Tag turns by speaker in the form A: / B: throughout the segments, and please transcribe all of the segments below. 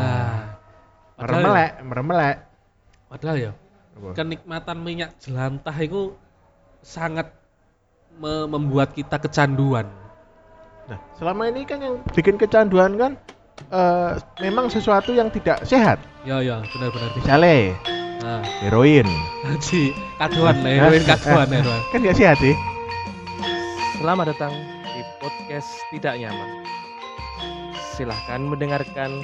A: Ah. Padahal ya-
B: meremelek meremelek
A: Padahal ya
B: Apa?
A: kenikmatan minyak jelantah itu sangat me- membuat kita kecanduan.
B: Nah, selama ini kan yang bikin kecanduan kan eh, memang sesuatu yang tidak sehat.
A: Ya ya benar-benar bisa.
B: Misalnya
A: Nah,
B: heroin.
A: Haji, kaduan lah, heroin kaduan heroin.
B: Kan nggak sehat sih.
C: Selamat datang di podcast Tidak Nyaman. Silahkan mendengarkan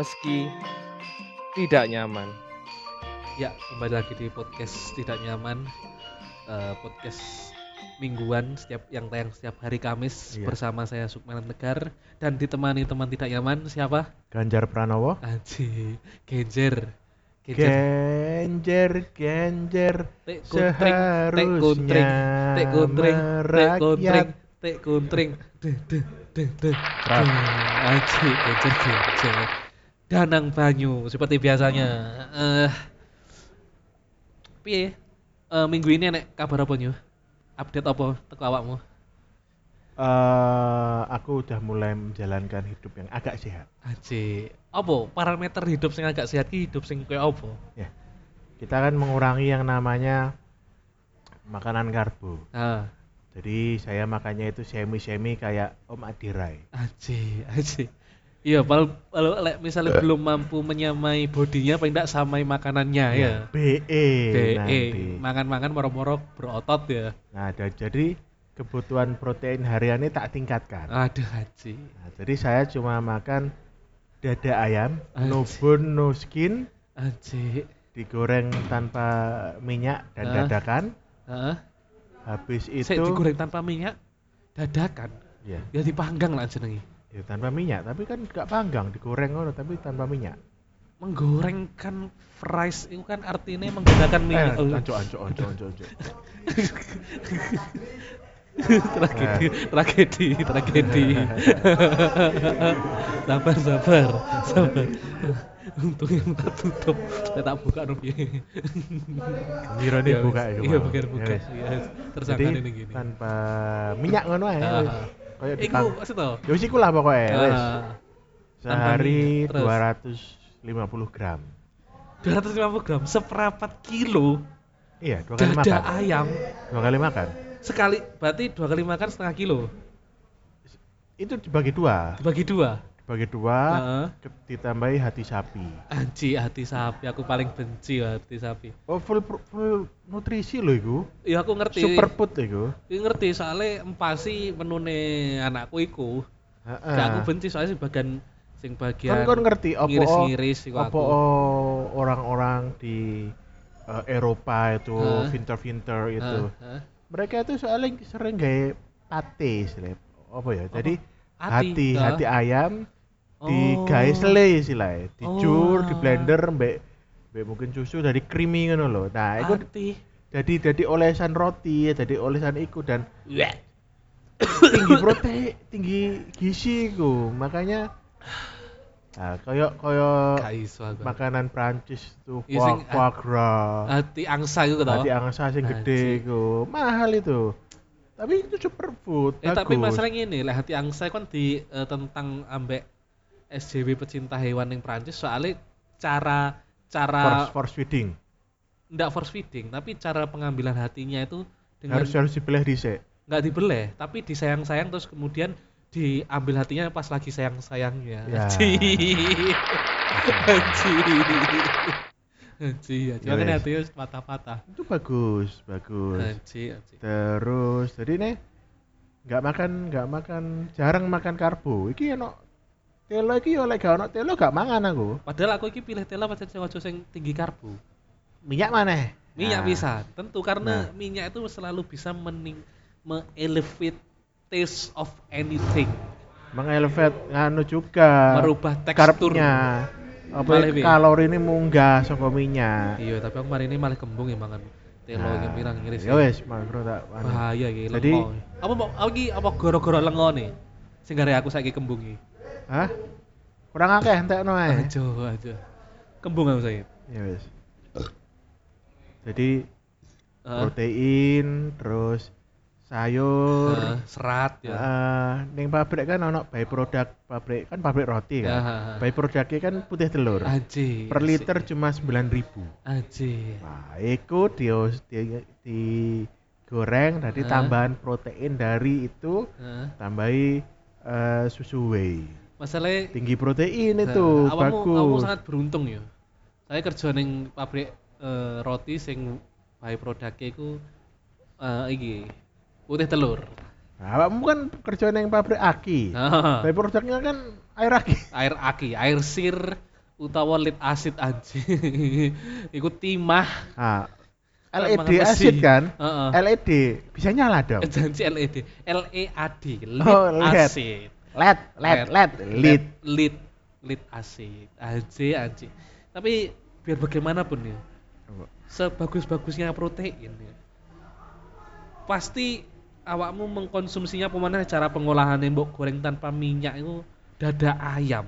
C: meski tidak nyaman.
A: Ya, kembali lagi di podcast tidak nyaman. Eh, podcast mingguan setiap yang tayang setiap hari Kamis
B: Iya.
A: bersama saya Sukmanan Tegar dan ditemani teman tidak nyaman siapa?
B: Ganjar Pranowo.
A: Haji, Genjer. Genjer.
B: Genjer, genjer,
A: Tek kuntring, tek kuntring, tek
B: seharusnya
A: kuntring, tek kuntring,
B: merakyat.
A: tek kuntring. Deh, deh, deh, deh. Aji, genjer, genjer. Danang Banyu seperti biasanya. Eh piye? Eh, minggu ini nek kabar apa nyu? Update apa teko awakmu?
B: Eh, aku udah mulai menjalankan hidup yang agak sehat.
A: Aji, apa parameter hidup sing agak sehat ki hidup sing koyo apa?
B: Ya. Kita kan mengurangi yang namanya makanan karbo.
A: Ah,
B: Jadi saya makannya itu semi-semi kayak Om Adirai.
A: Aji, aji. Iya, kalau kalau lek
B: Eh.
A: misalnya belum mampu menyamai bodinya, paling tidak samai makanannya ya.
B: BE Iya. E
A: E,
B: nanti.
A: DE, makan-makan moro-moro berotot ya.
B: Nah, dan jadi kebutuhan protein hariannya tak tingkatkan.
A: Aduh, Haji.
B: Nah, jadi saya cuma makan dada ayam, no
A: Anjing.
B: bone, no skin,
A: Haji.
B: digoreng tanpa minyak dan
A: Ah.
B: dadakan.
A: Heeh.
B: Habis
A: Sik
B: itu
A: digoreng tanpa minyak, dadakan.
B: ya,
A: Ya dipanggang lah jenenge.
B: ya, tanpa minyak, tapi kan gak panggang, digoreng ngono tapi tanpa minyak.
A: Menggoreng kan fries itu kan artinya menggunakan minyak. Oh,
B: Eh, anco anco anco anco anco.
A: tragedi,
B: Eh.
A: tragedi, tragedi. sabar, sabar, sabar. Untung yang tak tutup, saya tak buka dong piye.
B: Gembira nih
A: Ya,
B: buka
A: wis.
B: itu.
A: Iya,
B: mau.
A: buka,
B: Ya,
A: buka.
B: wis.
A: Iya, tersangka
B: Jadi
A: ini gini.
B: tanpa minyak ngono ae.
A: Ah.
B: wis. Kayak
A: Iku
B: dipang.
A: maksud toh?
B: Ya wis ikulah pokoknya, wis.
A: Ah. Tanpa
B: Sehari
A: minyak, terus?
B: 250 gram.
A: 250 gram, seperapat kilo
B: Iya, dua kali
A: dada
B: makan.
A: ayam
B: Dua kali makan.
A: sekali berarti dua kali makan setengah kilo
B: Itu dibagi dua.
A: dibagi dua
B: Dibagi dua,
A: Heeh.
B: ke- ditambahi hati sapi.
A: anji hati sapi aku paling benci loh hati sapi
B: Oh, full, pro- full nutrisi loh itu.
A: ya aku ngerti
B: Superfood itu.
A: Ya, ngerti soalnya empasi menune anakku iku
B: Heeh.
A: Ya, aku benci soalnya sebagian sing
B: Ah. Kan
A: bagian
B: kon ngerti opo
A: ngiris-ngiris iku
B: opo
A: aku
B: orang-orang di eh, Eropa itu
A: Heeh.
B: winter-winter itu.
A: Heeh, heeh.
B: Mereka itu soalnya sering gawe pate, Slep. apa ya? Jadi
A: Ati,
B: hati,
A: heeh.
B: hati ayam
A: Oh.
B: digawe selai istilahnya
A: Oh.
B: dijur di blender mbek mbek mungkin susu dari creamy ngono lho nah iku
A: ati
B: jadi jadi olesan roti jadi olesan iku dan
A: Weh.
B: tinggi protein tinggi gizi iku makanya nah, koyo koyo
A: Gak iso aku.
B: makanan Prancis tuh
A: Iya,
B: foie
A: sing-
B: foie gras
A: ati angsa iku gitu toh
B: hati angsa sing
A: Anjing.
B: gede iku mahal itu tapi itu superfood
A: Eh, tapi
B: bagus.
A: masalah gini, lah hati angsa kan di eh, tentang ambek SJW pecinta hewan yang Prancis soalnya cara cara
B: force, force feeding
A: ndak force feeding, tapi cara pengambilan hatinya itu dengan
B: harus ya, harus dipilih dhisik
A: nggak dibeleh, tapi disayang-sayang terus kemudian diambil hatinya pas lagi sayang-sayangnya.
B: Ya.
A: Anji. Anji. Anji, ya. Cuma kan
B: Yowes.
A: hatinya harus patah-patah.
B: itu bagus bagus
A: Anji, anji.
B: Terus jadi nih nggak makan nggak makan jarang makan karbo. Iki ono telo iki oleh gak ono telo gak mangan aku.
A: Padahal aku iki pilih tela pancen sing ojo sing tinggi karbo.
B: Minyak mana?
A: minyak bisa tentu karena
B: Nah.
A: minyak itu selalu bisa mening me-elevate taste of anything
B: Mengelevat nganu juga.
A: merubah tekstur
B: Karbnya. Apa
A: Malah
B: iki
A: piye?
B: kalori ini munggah saka minyak.
A: iya tapi aku kemarin ini malah kembung ya mangan telo
B: Nah,
A: nah, pirang ngiris
B: Ya wes, makro tak. anu.
A: bahaya iki
B: Jadi-
A: lengo apa mau apa iki apa goro-goro lengo nih sing gara aku saiki kembung iki
B: Hah? Kurang akeh entekno ae.
A: aja aja kembung aku saiki
B: Ah, Ya wes.
A: Heeh.
B: Jadi
A: Ah.
B: protein terus sayur
A: Eh, serat ya.
B: eh, ning pabrik kan ono by produk pabrik kan pabrik roti
A: Ya,
B: kan
A: ha, ha.
B: by produknya kan putih telur
A: Ah, Aji.
B: per liter
A: asik.
B: cuma 9000
A: Aji.
B: nah itu di, di, digoreng
A: Hah?
B: tadi tambahan protein dari itu
A: Heeh.
B: tambahi eh, susu whey
A: Masalahnya
B: tinggi protein itu
A: Nah, awakmu- awakmu
B: bagus
A: sangat beruntung ya. Saya kerja ning pabrik eh, roti sing by produknya iku eh, iki putih telur.
B: nah, awakmu kan kerja yang pabrik aki
A: Nah,
B: by produknya kan air aki
A: air aki, air sir utawa lead acid anjing. iku timah.
B: nah,
A: Kan
B: LED
A: makan besi.
B: acid kan
A: Heeh.
B: LED bisa nyala dong
A: Janji LED, LEAD, lead
B: Oh, LED.
A: acid.
B: LED
A: E
B: LED LED LED
A: lead lead acid. Anjing, anjing. Tapi biar bagaimanapun ya, sebagus-bagusnya protein ya. pasti awakmu mengkonsumsinya pemanah cara pengolahan mbok goreng tanpa minyak itu dada ayam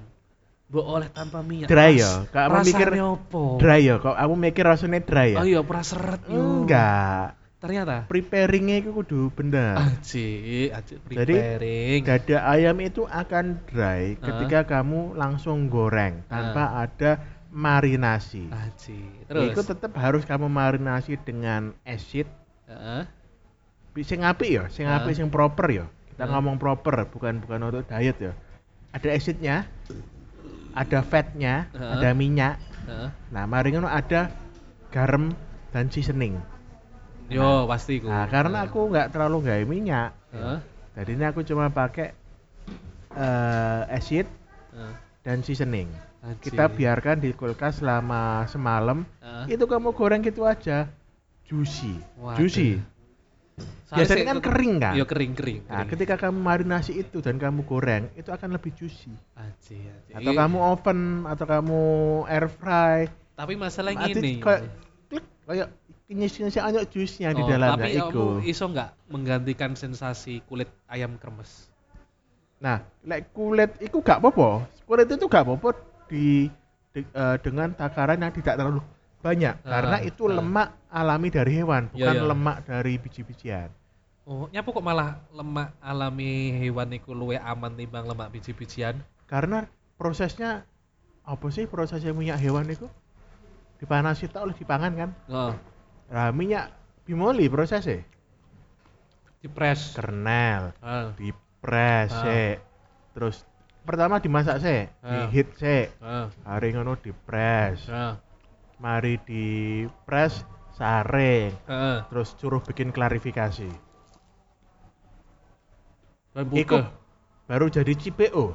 A: mbok oleh tanpa minyak
B: Dry
A: Ras-
B: ya? Gak mau mikir
A: rasanya apa
B: dry ya kok aku mikir rasanya dry ya
A: oh iya pernah seret yo.
B: enggak
A: ternyata
B: preparingnya itu kudu bener
A: aji aji
B: Jadi,
A: preparing
B: dada ayam itu akan
A: Hah?
B: dry ketika kamu langsung goreng tanpa ada marinasi
A: aji terus
B: itu tetap harus kamu marinasi dengan acid
A: Heeh.
B: Bi- sing apik ya sing
A: Hah?
B: apik sing proper ya kita
A: Hah?
B: ngomong proper bukan bukan untuk diet ya ada acidnya ada fatnya
A: Hah?
B: ada minyak
A: heeh.
B: nah maringan ada garam dan seasoning
A: yo pasti ku
B: nah karena aku nggak terlalu nggak minyak
A: Heeh.
B: jadi ini aku cuma pakai eh acid
A: Heeh.
B: dan seasoning.
A: Aji.
B: Kita biarkan di kulkas selama semalam.
A: Heeh.
B: Itu kamu goreng gitu aja. Juicy.
A: Waduh.
B: Juicy.
A: Soalnya
B: Biasanya
A: sih
B: kan
A: itu-
B: kering, kan?
A: Iya kering kering.
B: Nah,
A: kering.
B: ketika kamu marinasi itu dan kamu goreng, itu akan lebih juicy.
A: Aji, aji.
B: Atau
A: Iya.
B: kamu oven, atau kamu air fry.
A: Tapi masalah
B: Nanti
A: gini.
B: kayak klik, kayak nyisi-nyisi anyok jusnya di
A: Oh,
B: dalamnya
A: tapi
B: itu.
A: kamu iso nggak menggantikan sensasi kulit ayam kremes?
B: Nah, lek kulit itu gak apa-apa. Kulit itu gak apa-apa di, di- eh, dengan takaran yang tidak terlalu banyak
A: Ah,
B: karena itu
A: ah.
B: lemak alami dari hewan,
A: Iya,
B: bukan
A: iya.
B: lemak dari biji-bijian.
A: Oh, nyapa kok malah lemak alami hewan iku luwe aman timbang lemak biji-bijian?
B: Karena prosesnya apa sih prosesnya minyak hewan itu? Dipanasi tak oleh dipangan kan?
A: Heeh.
B: Nah, minyak bimoli prosesnya.
A: Dipres.
B: Kernel,
A: Heeh.
B: dipres,
A: Ah.
B: sik. terus pertama dimasak sih,
A: Ah.
B: dihit sih,
A: Heeh.
B: hari ngono dipres.
A: Heeh.
B: mari di press saring
A: Heeh.
B: terus curuh bikin klarifikasi
A: Dan
B: Iku
A: buka.
B: baru jadi CPO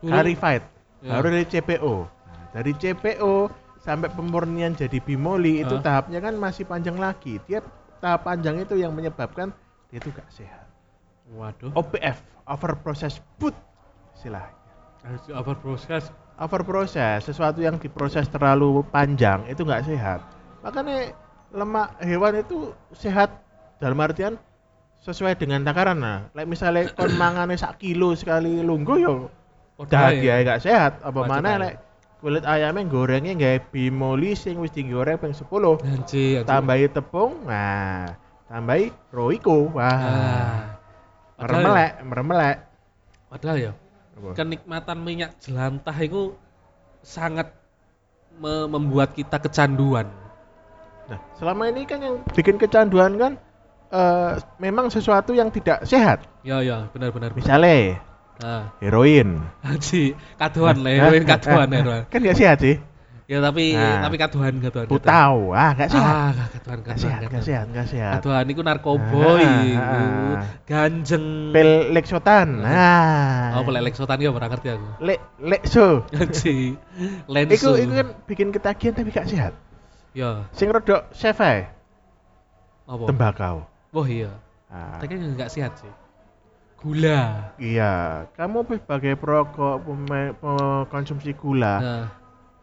A: Burung.
B: clarified
A: Ya.
B: baru dari CPO Nah, dari CPO sampai pemurnian jadi bimoli itu
A: Hah?
B: tahapnya kan masih panjang lagi tiap tahap panjang itu yang menyebabkan dia itu gak sehat
A: Waduh.
B: OPF over process food istilahnya
A: Harus apa proses?
B: over process sesuatu yang diproses terlalu panjang itu nggak sehat makanya lemak hewan itu sehat dalam artian sesuai dengan takaran nah like misalnya kon mangane sak kilo sekali lungguh yo
A: ya.
B: udah dia nggak sehat apa
A: Waduh,
B: mana
A: Pak.
B: like kulit ayamnya gorengnya nggak bimoli sing wis digoreng peng 10
A: Anji, anji.
B: tambahi tepung nah tambahi roiko wah
A: Ah. Padahal-
B: meremelek meremelek
A: Padahal ya,
B: Apa?
A: kenikmatan minyak jelantah itu sangat me- membuat kita kecanduan.
B: Nah, selama ini kan yang bikin kecanduan kan eh, memang sesuatu yang tidak sehat.
A: Ya ya, benar-benar.
B: Misalnya
A: Nah,
B: heroin.
A: haji kaduhan lah, ya,
B: Hah?
A: heroin kaduhan heroin.
B: Kan nggak sehat sih.
A: Ya tapi
B: Nah.
A: tapi kaduhan kaduhan. kaduhan.
B: Putau, ah nggak sehat.
A: Ah, kaduhan
B: Nggak
A: kaduhan.
B: sehat, nggak sehat, nggak sehat.
A: Kaduhan itu narkoboy,
B: Ah,
A: iku.
B: ah.
A: ganjeng.
B: Pil Lexotan. Nah.
A: Oh, pelek leksotan ya pernah ngerti aku.
B: Le Lexo.
A: Haji, lensu.
B: Iku iku kan bikin ketagihan tapi gak sehat.
A: Ya,
B: Sing rodok sefe
A: apa?
B: tembakau.
A: Wah iya,
B: Ah,
A: tapi kan nggak sehat sih. Gula.
B: iya, kamu sebagai perokok peme- pengkonsumsi gula,
A: Nah,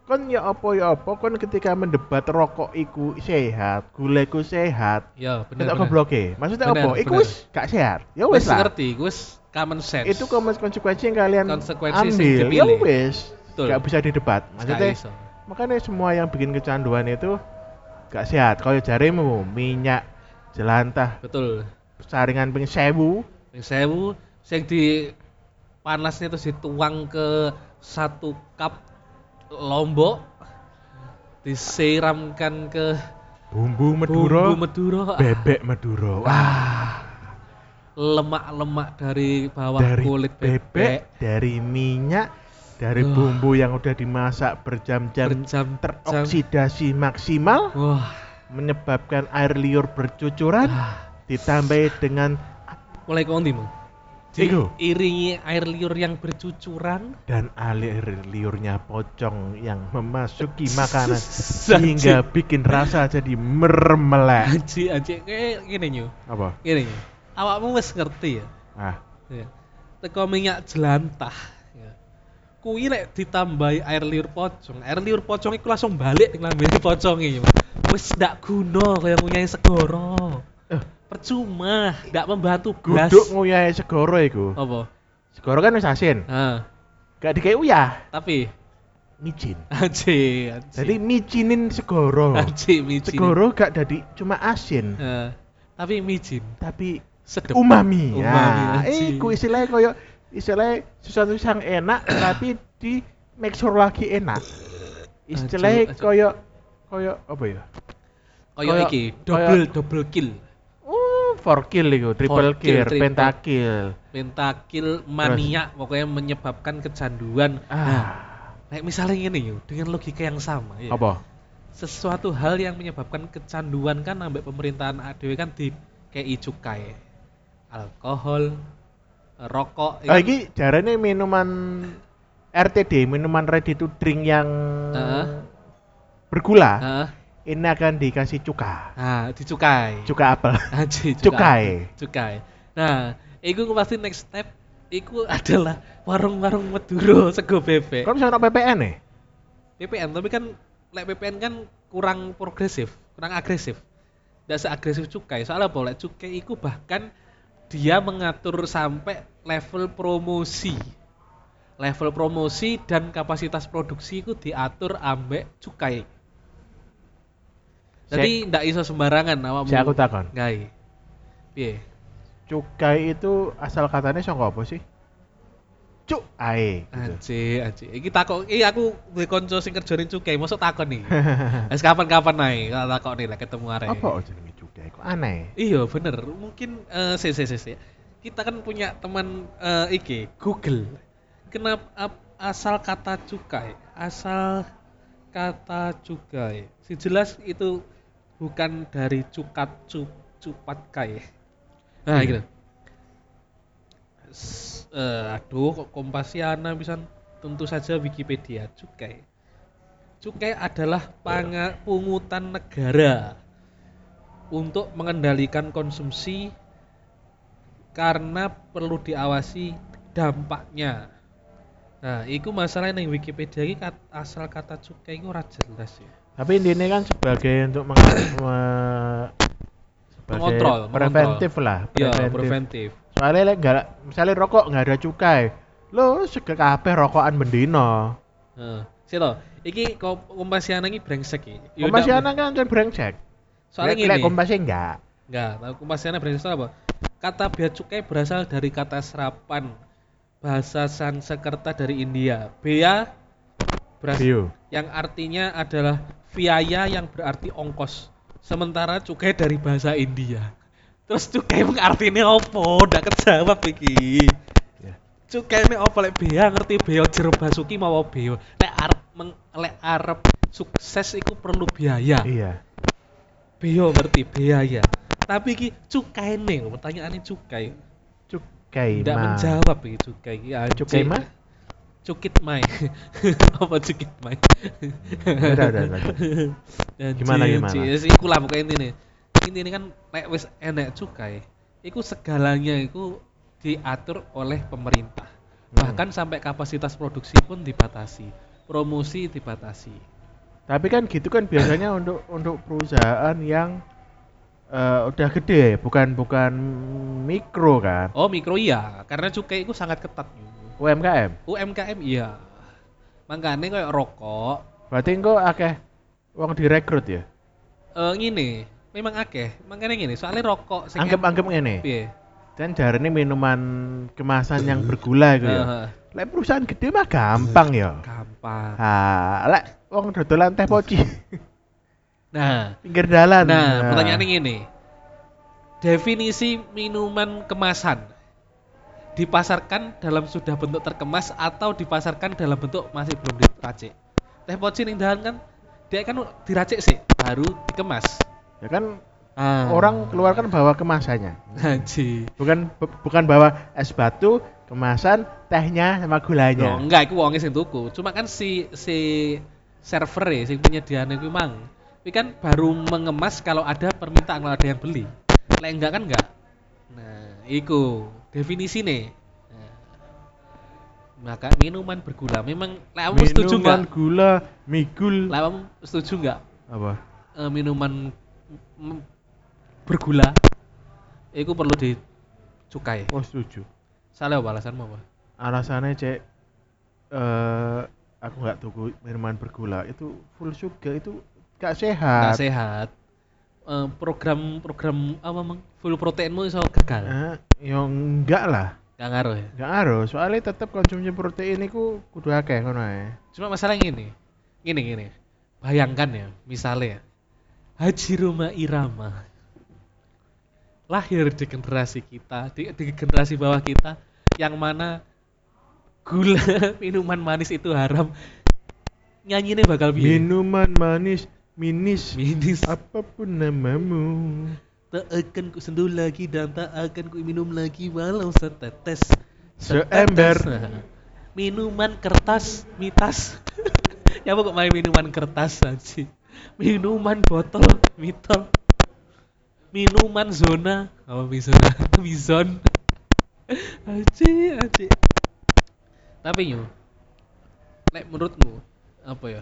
B: kon ya apa ya apa kon ketika mendebat rokok iku sehat gula iku sehat
A: ya benar.
B: kita
A: benar.
B: goblok e maksudnya
A: Bener,
B: apa iku
A: bener.
B: wis gak sehat ya
A: Wes
B: wis lah
A: ngerti, wes common sense.
B: itu kon- konsekuensi yang kalian
A: Konsekuensi sing
B: ambil ya
A: dipilih.
B: wis
A: Betul.
B: gak bisa didebat
A: maksudnya
B: maksudnya makanya semua yang bikin kecanduan itu gak sehat kalau jarimu minyak jelantah
A: betul.
B: saringan ping sewu
A: Yang sewu sing di panasnya terus dituang ke satu cup lombok disiramkan ke
B: bumbu meduro
A: bumbu meduro ah,
B: bebek meduro wah
A: lemak-lemak dari bawah
B: dari
A: kulit
B: bebek,
A: bebek,
B: dari minyak dari
A: Wah.
B: bumbu yang udah dimasak berjam-jam
A: berjam-jam
B: teroksidasi maksimal
A: wah
B: menyebabkan air liur bercucuran
A: ah,
B: ditambah dengan
A: mulai kondi mau
B: Iku.
A: diiringi air liur yang bercucuran
B: dan alir liurnya pocong yang memasuki makanan sehingga bikin rasa jadi mermelek
A: anji anji kayak gini nyu
B: apa
A: gini nyu awakmu wes ngerti ya
B: ah
A: ya. teko minyak jelantah ya. kuwi lek ditambahi air liur pocong air liur pocong iku langsung balik ning lambene pocong iki wis ndak guna kaya ngunyai segoro
B: Eh.
A: percuma ndak membantu blas
B: guduk nguyahi ya, segoro iku
A: apa
B: segoro kan wis asin
A: nah,
B: gak dikei uyah
A: tapi
B: micin
A: anji anji
B: jadi oh, micinin segoro
A: anji micin
B: segoro gak jadi cuma asin
A: Eh, tapi micin
B: tapi
A: sedep
B: umami
A: Umami,
B: ya
A: anjing.
B: iku istilahnya koyo istilahnya sesuatu yang enak tapi di make sure lagi enak
A: Anjing,
B: istilahnya
A: anjing.
B: koyo koyo apa ya
A: kaya
B: kaya-
A: iki
B: kaya-
A: double double kill
B: Oh, four kill itu,
A: kill,
B: triple kill,
A: triple.
B: pentakill.
A: pentakil mania pokoknya menyebabkan kecanduan nah
B: Ah,
A: Nah, misalnya ini yuk, dengan logika yang sama ya.
B: apa?
A: Sesuatu hal yang menyebabkan kecanduan kan ambek pemerintahan ADW kan di kayak cukai. Alkohol, rokok,
B: Ah, ini jarane minuman RTD, minuman ready to drink yang
A: Heeh.
B: bergula.
A: Heeh.
B: Ini akan dikasih cuka,
A: Nah, dicukai.
B: cuka apel.
A: Aji,
B: Cukai.
A: Cukai. Nah, iku pasti next step iku adalah warung-warung Maduro sego bebek.
B: Kan bisa ono PPN nih.
A: PPN tapi kan lek PPN kan kurang progresif, kurang agresif. Tidak seagresif cukai. Soalnya apa? Lek cukai itu bahkan dia mengatur sampai level promosi. Level promosi dan kapasitas produksi itu diatur ambek cukai. Jadi ndak iso sembarangan awakmu.
B: Saya aku takon.
A: Ngai. Piye?
B: Cukai itu asal katanya songko apa sih? Cuk, ae. Gitu.
A: Aji, aji. Iki takok, iki aku duwe kanca sing kerjane cukai, mosok takon iki. Wis kapan-kapan naik, tak takok nih lek ketemu arek.
B: apa jenenge cukai? Kok aneh?
A: Iya bener, mungkin eh si, si, si, si. kita kan punya teman eh, iki Google. Kenapa ap- asal kata cukai, asal kata cukai. Si jelas itu bukan dari cukat cu, cupat kai. Nah, gitu. S- eh, aduh, kok kompasiana bisa tentu saja Wikipedia cukai. Cukai adalah panga- pungutan negara untuk mengendalikan konsumsi karena perlu diawasi dampaknya. Nah, itu masalah yang Wikipedia ini kat- asal kata cukai itu ora jelas ya.
B: Tapi intinya kan sebagai untuk meng- me- sebagai
A: Mengontrol,
B: preventif lah,
A: Iya,
B: preventif.
A: preventif.
B: Soalnya lek nggak, misalnya rokok nggak ada cukai, lo sega kabeh rokokan bendino.
A: Heeh. Sito, iki kok kompasiana ini brengsek iki. Ya.
B: Kompasi
A: ndak-
B: anak kan kan brengsek.
A: Soalnya
B: Lek- lek
A: ngene.
B: kompasi enggak.
A: Enggak, tahu kompasiana brengsek itu apa? Kata bea cukai berasal dari kata serapan bahasa Sanskerta dari India. Bea berasal
B: Bio.
A: yang artinya adalah biaya yang berarti ongkos. Sementara cukai dari bahasa India. Terus cukai emang artinya apa? Ndak kejawab iki.
B: Ya.
A: Cukai ini apa lek bea ngerti bea jero basuki mau bea. Lek arep meng, lek arep sukses iku perlu biaya.
B: Iya.
A: Bea ngerti biaya. Tapi iki cukai nih, pertanyaannya cukai.
B: Cukai
A: Ndak
B: mah.
A: menjawab iki cukai iki. anjing.
B: Cukai mah?
A: Cukit mai. apa cukit mai?
B: Udah, udah, udah. Gimana, gimana?
A: Ya sih, iku lah pokoknya intinya. Intinya kan nek wis enek cukai, iku segalanya iku diatur oleh pemerintah.
B: Hmm.
A: Bahkan sampai kapasitas produksi pun dibatasi, promosi dibatasi.
B: Tapi kan gitu kan biasanya untuk untuk perusahaan yang eh, udah gede, bukan bukan mikro kan.
A: Oh, mikro iya, karena cukai itu sangat ketat.
B: UMKM.
A: UMKM iya. Makanya kayak rokok,
B: Berarti engko akeh wong direkrut ya.
A: eh ngene, memang akeh makanya gini soalnya rokok sing
B: anggap anggap ngene
A: piye
B: dan jarene minuman kemasan yang bergula itu ya
A: Heeh,
B: lek perusahaan gede mah gampang ya
A: gampang
B: ha lek wong dodolan teh poci
A: nah
B: pinggir dalan Ah,
A: nah pertanyaannya gini definisi minuman kemasan dipasarkan dalam sudah bentuk terkemas atau dipasarkan dalam bentuk masih belum diracik teh poci ning dahan kan dia kan diracik sih baru dikemas
B: ya kan
A: Ah.
B: orang keluar kan bawa kemasannya
A: Haji.
B: bukan bu- bukan bawa es batu kemasan tehnya sama
A: Loh,
B: gulanya
A: enggak, itu wonge sing tuku. Cuma kan si si server sing penyediaan iku mang. Tapi kan baru mengemas kalau ada permintaan kalau ada yang beli. Lek enggak kan enggak. Nah, iku definisi nih. Maka minuman bergula memang lek kamu setuju enggak?
B: minuman gula migul
A: Lek kamu setuju enggak
B: apa
A: eh, minuman mm, bergula itu perlu dicukai.
B: oh setuju
A: Salah apa alasanmu apa?
B: alasannya cek eh aku nggak tuku minuman bergula itu full sugar itu
A: nggak
B: gak sehat
A: sehat Eh, program-program apa mang full proteinmu iso gagal
B: Eh, ya enggak lah
A: nggak ngaruh ya
B: enggak harus soalnya tetap konsumsi protein itu kudu akeh ngono ae.
A: cuma masalah gini gini gini bayangkan ya misalnya Haji Roma Irama lahir di generasi kita di, di generasi bawah kita yang mana gula minuman manis itu haram nyanyinya bakal piye?
B: minuman manis minis
A: minis
B: apapun namamu
A: tak akan ku senduh lagi dan tak akan ku minum lagi walau setetes
B: Seember.
A: Nah, minuman kertas mitas ya kok main minuman kertas aja minuman botol mitol minuman zona apa mizona mizon aji aji tapi yo lek menurutmu apa ya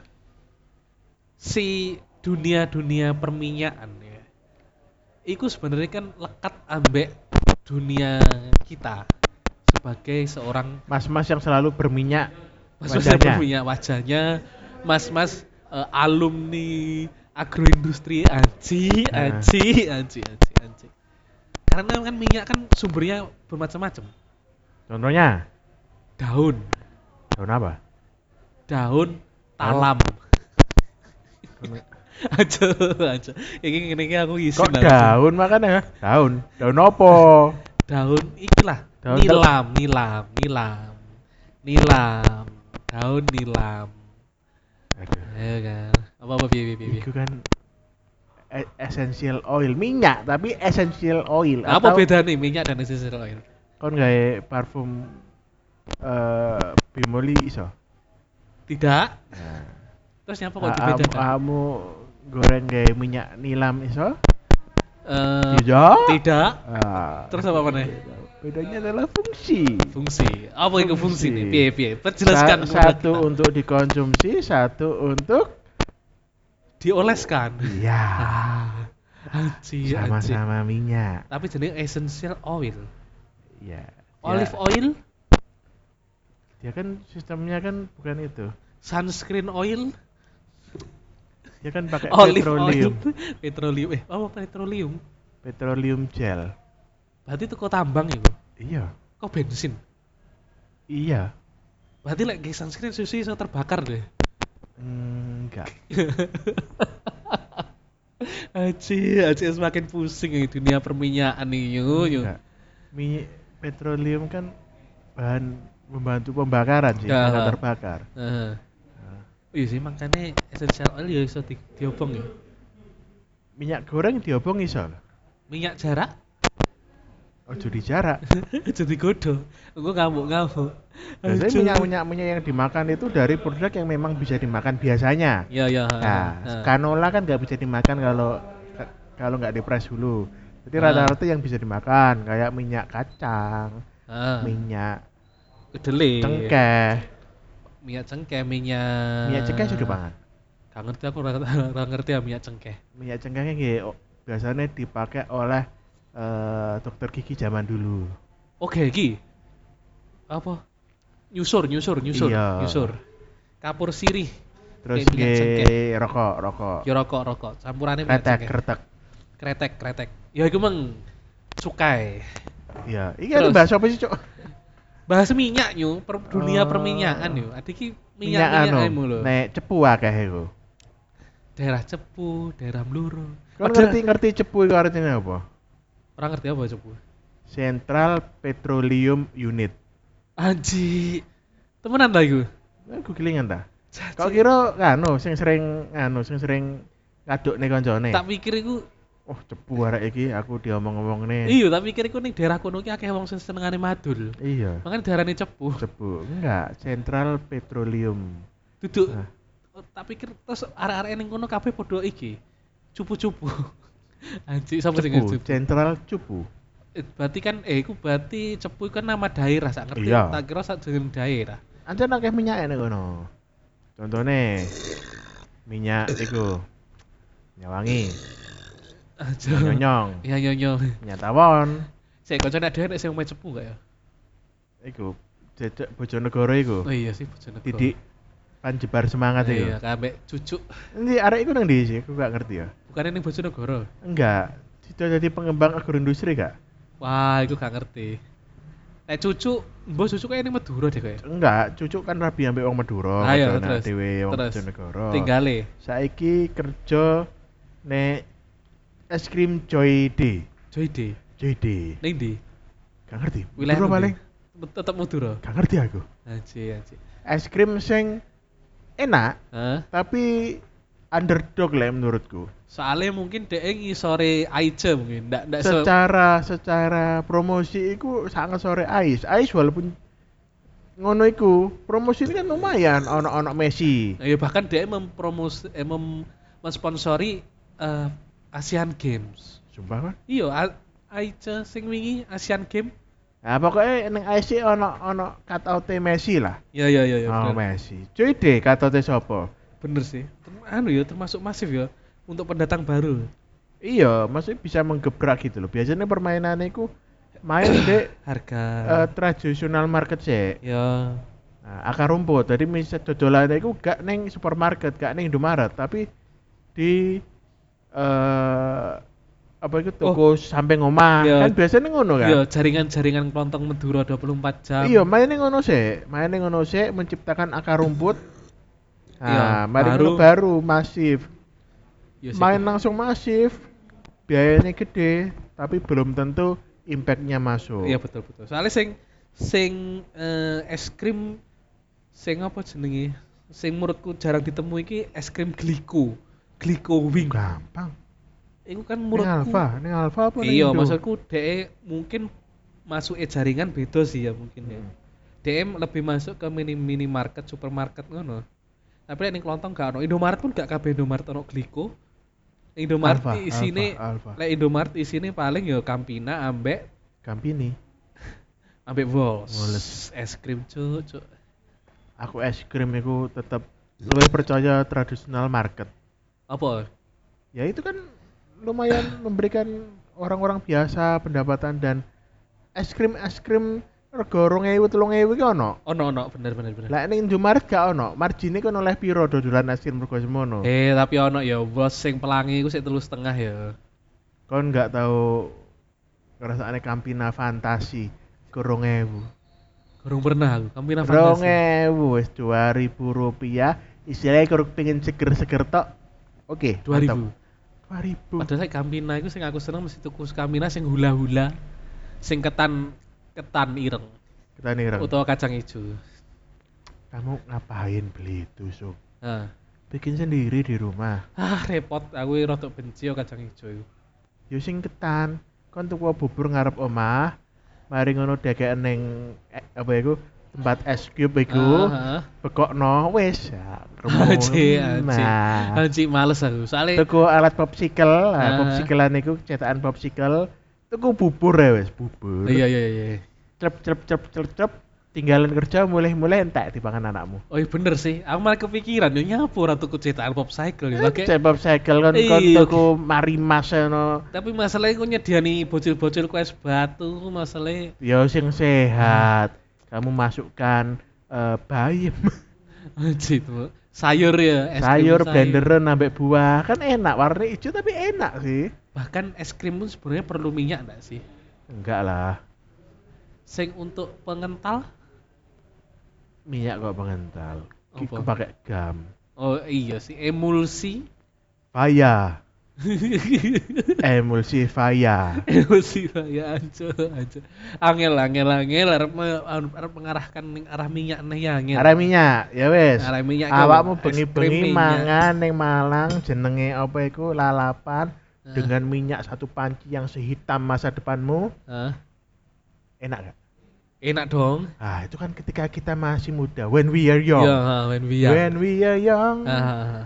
A: si dunia dunia perminyakan ya itu sebenarnya kan lekat ambek dunia kita sebagai seorang
B: mas-mas yang selalu berminyak
A: mas-mas yang
B: wajahnya.
A: berminyak wajahnya mas-mas eh, alumni agroindustri anci
B: Nah.
A: anci anci anci anci karena kan minyak kan sumbernya bermacam-macam
B: contohnya
A: daun
B: daun apa
A: daun talam aja aja ini ini aku isi
B: Oh. kok
A: langsung.
B: daun makanya daun daun opo
A: daun ikilah
B: Daun
A: nilam nilam nilam nilam daun nilam
B: Aduh.
A: ya kan apa apa bi bi bi bi
B: Itu kan e- essential oil minyak tapi essential oil
A: apa
B: atau
A: beda nih minyak dan essential oil
B: kon gawe parfum eh bimoli iso
A: tidak
B: nah,
A: terus nyapa kok
B: kamu
A: dibedakan
B: goreng gawe minyak nilam iso
A: Eh,
B: tidak
A: tidak
B: Ah,
A: terus apa maneh?
B: bedanya adalah fungsi
A: fungsi apa itu fungsi nih
B: Fungsi.
A: piye piye perjelaskan
B: Sa-
A: kepada
B: satu
A: kita.
B: untuk dikonsumsi satu untuk
A: dioleskan
B: ya
A: Ah, anji anji
B: sama-sama minyak
A: tapi jenis essential oil
B: ya
A: olive
B: dia,
A: oil
B: dia kan sistemnya kan bukan itu
A: sunscreen oil
B: dia kan pakai
A: olive oil
B: petroleum
A: petroleum eh apa petroleum
B: petroleum gel
A: berarti itu kok tambang itu
B: iya
A: kok bensin
B: iya
A: berarti lek like, sunscreen susu iso terbakar deh
B: enggak
A: Aji, aji semakin pusing ini dunia perminyakan nih yo yo.
B: enggak minyak petroleum kan bahan membantu pembakaran sih
A: Ya.
B: kalau terbakar
A: Heeh.
B: Nah,
A: Iya sih makanya essential oil ya iso di, diobong ya.
B: minyak goreng diobong iso lho.
A: Minyak jarak Hmm.
B: ojo dijarak
A: jadi godo. Gue ngamuk ngamuk.
B: biasanya minyak minyak minyak yang dimakan itu dari produk yang memang bisa dimakan biasanya
A: Ya ya. ha,
B: Nah,
A: ha.
B: canola kan nggak bisa dimakan kalau kalau nggak dipres dulu. Jadi
A: Ah.
B: rata-rata yang bisa dimakan kayak minyak kacang,
A: Ah, iya.
B: minyak
A: kedelai.
B: cengkeh.
A: Minyak cengkeh, minyak.
B: Minyak cengkeh sudah banget.
A: Gak ngerti aku ora- ora ngerti ya minyak cengkeh.
B: Minyak cengkehnya nggih, o- biasanya dipakai oleh eh, dokter gigi zaman dulu.
A: Oke, iki. Apa? Nyusur, nyusur, nyusur,
B: Iya.
A: nyusur. Kapur sirih.
B: Terus
A: minyak
B: nggih
A: cengkeh.
B: rokok, rokok.
A: Yo rokok, rokok. Campurannya minyak
B: Kretek,
A: cengkeh.
B: kretek.
A: kretek kretek ya iku mang cukai
B: Iya, ini ada
A: Terus.
B: bahasa apa sih, Cok?
A: bahas minyak yo per, dunia
B: Oh.
A: perminyakan yo ada ki minyak
B: Minyak
A: minyak
B: anu,
A: lho
B: nek cepu akeh iku.
A: daerah cepu daerah bluro
B: Kau ngerti ngerti cepu itu artinya apa?
A: orang ngerti apa cepu
B: Central Petroleum Unit.
A: anji temenan ta iku
B: Aku kelingan ta.
A: Jajan.
B: Kau kira anu sing sering anu sing sering ngaduk nih koncone.
A: tak pikir iku
B: Oh cepu arek iki aku diomong-omong nih.
A: iya tak pikir iku ning daerah kono ki akeh wong sing senengane madul
B: Iya.
A: makanya daerahnya cepu
B: Cepu enggak Central Petroleum.
A: duduk
B: Hah.
A: Oh, tak pikir terus arek-arek ning kono kabeh padha iki cupu-cupu anji sapa sing
B: Cepu,
A: cupu
B: Central Cupu.
A: Eh, berarti kan eh iku berarti cepu iku kan nama daerah sak ngerti
B: Iya.
A: tak kira sak jeneng daerah
B: Anjir akeh minyak nih kono. Contohnya minyak iku minyak wangi,
A: aja
B: minyak nyonyong,
A: iya iya iya
B: minyak tawon,
A: saya kocok ada ada yang main cepu nggak ya
B: iku jejak Bojonegoro iku.
A: oh iya sih bojonegoro
B: Didik ya? panjebar semangat iku.
A: iya kabe cucu
B: Nanti arek iku nang ndi sih? Aku gak ngerti ya.
A: bukan ini bojonegoro
B: Enggak. Itu jadi pengembang agroindustri gak?
A: wah iku gak ngerti Nek cucu, mbok cucu kayak ini Madura deh kayak.
B: Enggak, cucu kan rabi ambek wong Madura,
A: Ah, iya,
B: padahal nak
A: terus.
B: Oh, dhewe wong
A: Terus.
B: Bojonegoro.
A: Tinggale.
B: Saiki kerja nek es krim Joy D.
A: Joy D.
B: Joy D.
A: Ning ndi?
B: Gak ngerti.
A: Wilayah
B: Madura
A: endi?
B: paling.
A: tetep Madura.
B: Gak ngerti aku.
A: Anji, anji.
B: Es krim sing enak
A: Hah?
B: tapi underdog lah menurutku.
A: Soalnya mungkin E dek ngisore Aice mungkin, ndak ndak se-
B: secara secara promosi iku sangat sore Ais. Ais walaupun ngono iku, promosi ini kan lumayan ono-ono Messi.
A: Nah, ya bahkan dek mempromos eh, mem mensponsori eh, Asian Games.
B: Sumpah kan?
A: Iya, A- Aice sing wingi Asian Games.
B: Nah, pokoknya ning Ais sih ono ono cutout Messi lah.
A: Ya ya ya ya.
B: oh,
A: bener.
B: Messi. Cuy deh cutout e sapa?
A: Bener sih. Term- Anu ya termasuk masif ya untuk pendatang baru.
B: Iya, maksudnya bisa menggebrak gitu loh. Biasanya permainannya iku main dek
A: Harga.
B: eh, tradisional market sih.
A: ya.
B: Nah, akar rumput. Jadi misal dodolan itu gak neng supermarket, gak neng Indomaret, tapi di eh apa itu toko samping
A: Oh.
B: omah.
A: Iya.
B: Kan biasanya ngono kan.
A: Iya, jaringan-jaringan kelontong Madura 24 jam.
B: Iya, mainnya ngono sih. Mainnya ngono sih menciptakan akar rumput. Nah,
A: Iya,
B: mari
A: baru-
B: ngono baru masif.
A: Ya, sih.
B: Main langsung masif. Biayanya gede, tapi belum tentu impact-nya masuk.
A: Iya betul betul. Soalnya sing sing eh, es krim sing apa jenenge? Sing menurutku jarang ditemui iki es krim gliko. Gliko wing.
B: Gampang.
A: Iku kan
B: Ini
A: menurutku.
B: alfa, ini alfa apa ning
A: Iya,
B: Iya, Indo?
A: maksudku dhek mungkin masuk jaringan beda sih ya mungkin ya.
B: Hmm.
A: DM lebih masuk ke mini minimarket, supermarket ngono. Tapi nek ning kelontong gak ono. Indomaret pun gak kabeh Indomaret ono gliko. Indomaret
B: Alfa,
A: isine
B: Alfa, Alfa.
A: lek Indomaret isine paling ya Campina ambek
B: Gampini.
A: ambek Wols.
B: Wols.
A: Es krim cuk cuk.
B: aku es krim itu tetap lebih percaya tradisional market
A: Apa?
B: ya itu kan lumayan memberikan orang-orang biasa pendapatan dan es krim es krim rego rong ewu telung ewu ki ono
A: Ono ono bener bener bener.
B: lah ini Indomaret gak ono margine kan oleh piro dodolan es krim rego semono
A: Eh tapi ono ya Wols sing pelangi iku sik telu setengah ya.
B: kon nggak tahu ngerasaane Campina fantasi ke rong ewu
A: Gorong pernah aku. Kampina
B: rong
A: fantasi.
B: ewu wis 2000 rupiah istilahnya kalau pengen seger-seger tok oke
A: 2000.
B: 2000
A: Padahal saya Kampina iku sing aku seneng mesti tuku Kampina sing hula-hula sing ketan ketan ireng
B: kita nih Rang.
A: utawa kacang ijo.
B: kamu ngapain beli itu Sob?
A: Nah.
B: bikin sendiri di rumah
A: Ah repot aku rada benci karo kacang ijo iku.
B: yo sing ketan kon tuku bubur ngarep omah mari ngono degeken ning eh, apa iku tempat es cube iku
A: Ah, ah.
B: bekokno wis ya
A: Aji,
B: keremu.
A: aji.
B: Nah,
A: Anji males aku. Soale
B: tuku alat popsicle
A: Ah.
B: nah, popsikelan iku cetakan popsicle tuku bubur ya wis bubur
A: iya iya iya.
B: cep cep cep cep cep tinggalan kerja mulai-mulai entek dipangan anakmu
A: Oh iya bener sih, aku malah kepikiran yo nyapu ora tuku cetakan pop cycle gitu. yo. Oke.
B: cep popsicle kon kon
A: Iya.
B: tuku marimas ya, ngono
A: Tapi masalahnya kok nyediani bocil-bocil ku es batu ku masalahnya
B: Ya sing sehat. Kamu masukkan eh bayam.
A: anjir tuh. sayur ya es krim
B: sayur blenderan sampai buah kan enak warna hijau tapi enak sih
A: bahkan es krim pun sebenarnya perlu minyak enggak sih
B: enggak lah
A: sing untuk pengental
B: minyak kok pengental Iku
A: Apa?
B: pakai gam
A: oh iya sih emulsi
B: Faya emulsi Faya
A: emosi lah ya aja aja angel angel angel arep me- arep mengarahkan ning arah minyak nih ya angel
B: arah minyak ya wes
A: arah minyak ke
B: awakmu
A: es
B: bengi-bengi
A: krim
B: mangan ning Malang jenenge apa iku lalapan
A: Ah.
B: dengan minyak satu panci yang sehitam masa depanmu
A: Hah?
B: enak gak?
A: enak dong
B: Ah itu kan ketika kita masih muda when we are young
A: ya ha, when we young.
B: when we are young
A: Ha, ha, ha.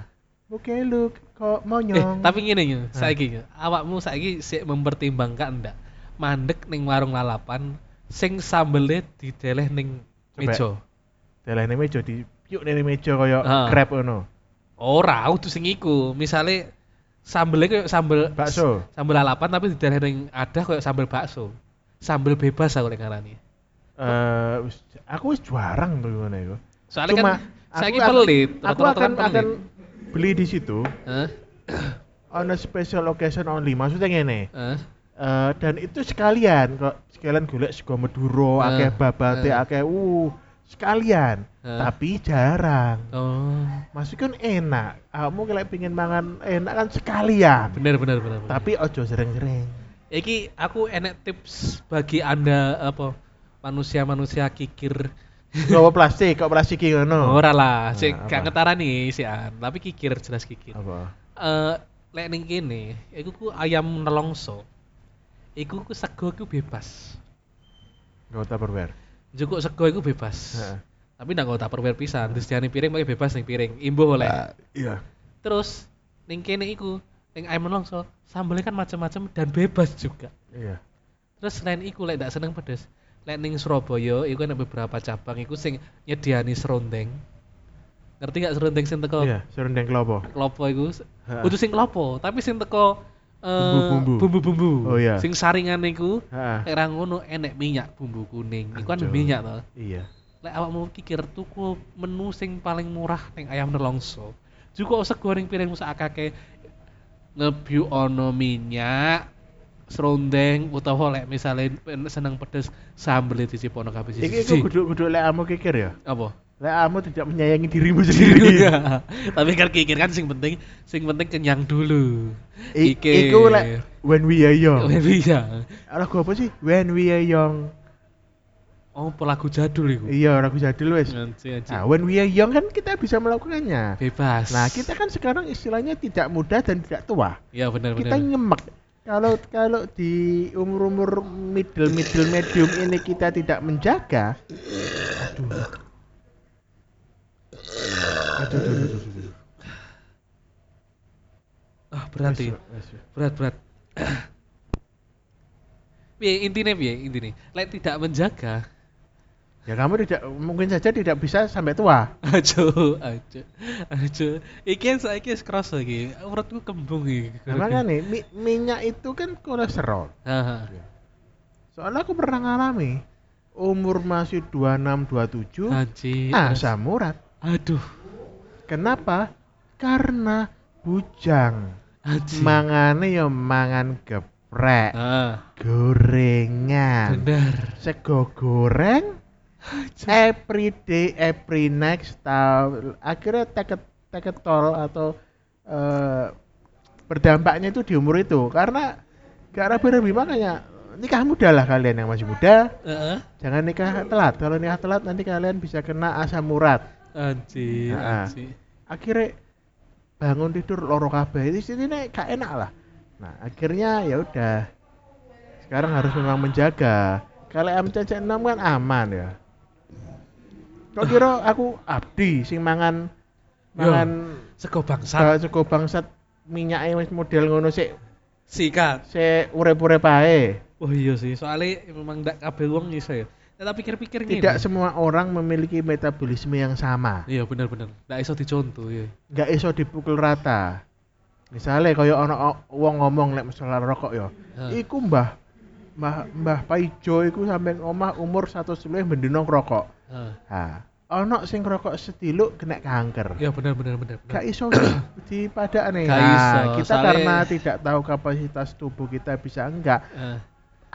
B: Oke lu
A: eh
B: kok monyong
A: tapi ngene yo saiki yo awakmu saiki sik mempertimbangkan ndak mandek ning warung lalapan sing sambelnya dideleh ning
B: Coba.
A: meja
B: Dalah ini meja di yuk ini meja koyo
A: Ah.
B: crab ngono.
A: ora kudu sing iku misale sambelnya kayak sambel
B: Bakso.
A: sambel lalapan tapi dideleh ning adah kayak sambel bakso sambel bebas aku lek ngarani
B: Eh wis- aku wis jarang tuh ngono iku.
A: Soalnya
B: Cuma,
A: kan saya
B: aku-
A: pelit,
B: Aku
A: rata-rata kan
B: akan
A: pelit.
B: akan beli di situ
A: Hah?
B: on a special occasion only. Maksudnya ngene.
A: Hah?
B: Eh, dan itu sekalian kok sekalian golek sego
A: Ah,
B: Madura, akeh babate,
A: ah.
B: akeh uh sekalian.
A: Ah.
B: Tapi jarang.
A: Oh,
B: Masukin kan enak. Kamu kalau pengen mangan enak kan sekalian.
A: benar benar benar. benar.
B: Tapi ojo sering-sering.
A: iki aku enek tips bagi Anda apa manusia-manusia kikir.
B: Gawa plastik, kok plastik iki ngono.
A: Ora lah, sik
B: Nah,
A: gak
B: apa?
A: ketara nih si An, tapi kikir jelas kikir. Eh
B: Apa?
A: lek ning kene, iku ku ayam nelongso. Iku ku sego ku bebas.
B: Gawa tupperware.
A: Jukuk sego iku bebas.
B: Heeh.
A: Tapi ndak nggo tupperware pisan, disediani piring pakai bebas ning piring, imbuh oleh.
B: Ah, Iya.
A: Terus ning kene iku, ning ayam nelongso, sambelnya kan macam-macam dan bebas juga.
B: Iya.
A: Terus selain iku lek ndak seneng pedes. Lek ning Surabaya iku ada beberapa cabang iku sing nyediani serundeng. Ngerti gak serundeng sing teko
B: Iya, serundeng klopo.
A: klopo iku? S-
B: Ha.
A: Kudu sing klopo, tapi sing teko eh,
B: Bumbu-bumbu.
A: bumbu-bumbu.
B: Oh, iya.
A: Sing saringan iku
B: Heeh.
A: lek ra ngono enek minyak bumbu kuning. Iku kan
B: Aduh.
A: minyak to.
B: Iya.
A: Lek awakmu kikir tuku menu sing paling murah ning ayam nelongso. Juga sego ning piringmu sakake nebu ono minyak serundeng utawa lek misale pen- seneng pedes sambel dicipono kabeh
B: Iki
A: siji.
B: iku kudu-kudu lek amu kikir ya.
A: Apa?
B: Lek amu tidak menyayangi dirimu sendiri.
A: ya. Tapi kan kikir kan sing penting sing penting kenyang dulu.
B: I-
A: Kikir.
B: Iku lek when we are young.
A: Iya.
B: Lagu apa sih? When we are young.
A: Oh, lagu jadul iku.
B: Iya, lagu jadul wes.
A: Anjir, anjir.
B: Nah, when we are young kan kita bisa melakukannya.
A: Bebas.
B: Nah, kita kan sekarang istilahnya tidak muda dan tidak tua.
A: ya benar
B: Kita
A: benar.
B: nyemek. Kalau kalau di umur-umur middle middle medium ini kita tidak menjaga, aduh, aduh, aduh, aduh, aduh.
A: Ah, berarti.
B: Wes, wes, wes.
A: berat berat piye intinya piye intinya lek tidak menjaga
B: Ya kamu tidak mungkin saja tidak bisa sampai tua.
A: ajo ajo ajo iki yang saya iki cross lagi urutku kembung iki
B: Nah, makanya mi- minyak itu kan kolesterol.
A: Haha.
B: Soalnya aku pernah ngalami umur masih 26
A: anjir
B: 27 ah, asam urat.
A: aduh
B: Kenapa? Karena bujang.
A: anjir
B: Mangane ya mangan geprek,
A: ah
B: gorengan,
A: benar
B: sego goreng every day, every next tahun. Akhirnya teket teketol atau eh, berdampaknya itu di umur itu karena gak rapi rapi makanya nikah muda lah kalian yang masih muda
A: Heeh.
B: jangan nikah telat kalau nikah telat nanti kalian bisa kena asam urat
A: anjir
B: Ah.
A: anjir
B: akhirnya bangun tidur loro kabeh itu sini nek gak enak lah nah akhirnya ya udah sekarang harus memang menjaga kalau MCC6 kan aman ya kok kira aku abdi sing mangan
A: Yo.
B: mangan
A: sego bangsa
B: salah suku bangsat minyaknya wis model ngono sik
A: sikat
B: sik urep-urep ae
A: oh iya sih soalnya memang ndak kabeh wong iso ya tapi pikir-pikir ngene.
B: tidak semua orang memiliki metabolisme yang sama
A: iya benar benar ndak iso dicontoh ya
B: nggak iso dipukul rata misalnya kaya ono o- wong ngomong lek masalah rokok ya
A: Ah.
B: iku mbah mbah mbah Paijo iku sampe omah umur satu sebelum mendino rokok
A: Heeh.
B: ha ono sing rokok setiluk kena kanker.
A: ya benar benar benar benar
B: Gak iso di padane.
A: Gak
B: Nah,
A: iso,
B: kita
A: soalnya-
B: karena tidak tahu kapasitas tubuh kita bisa enggak
A: Eh,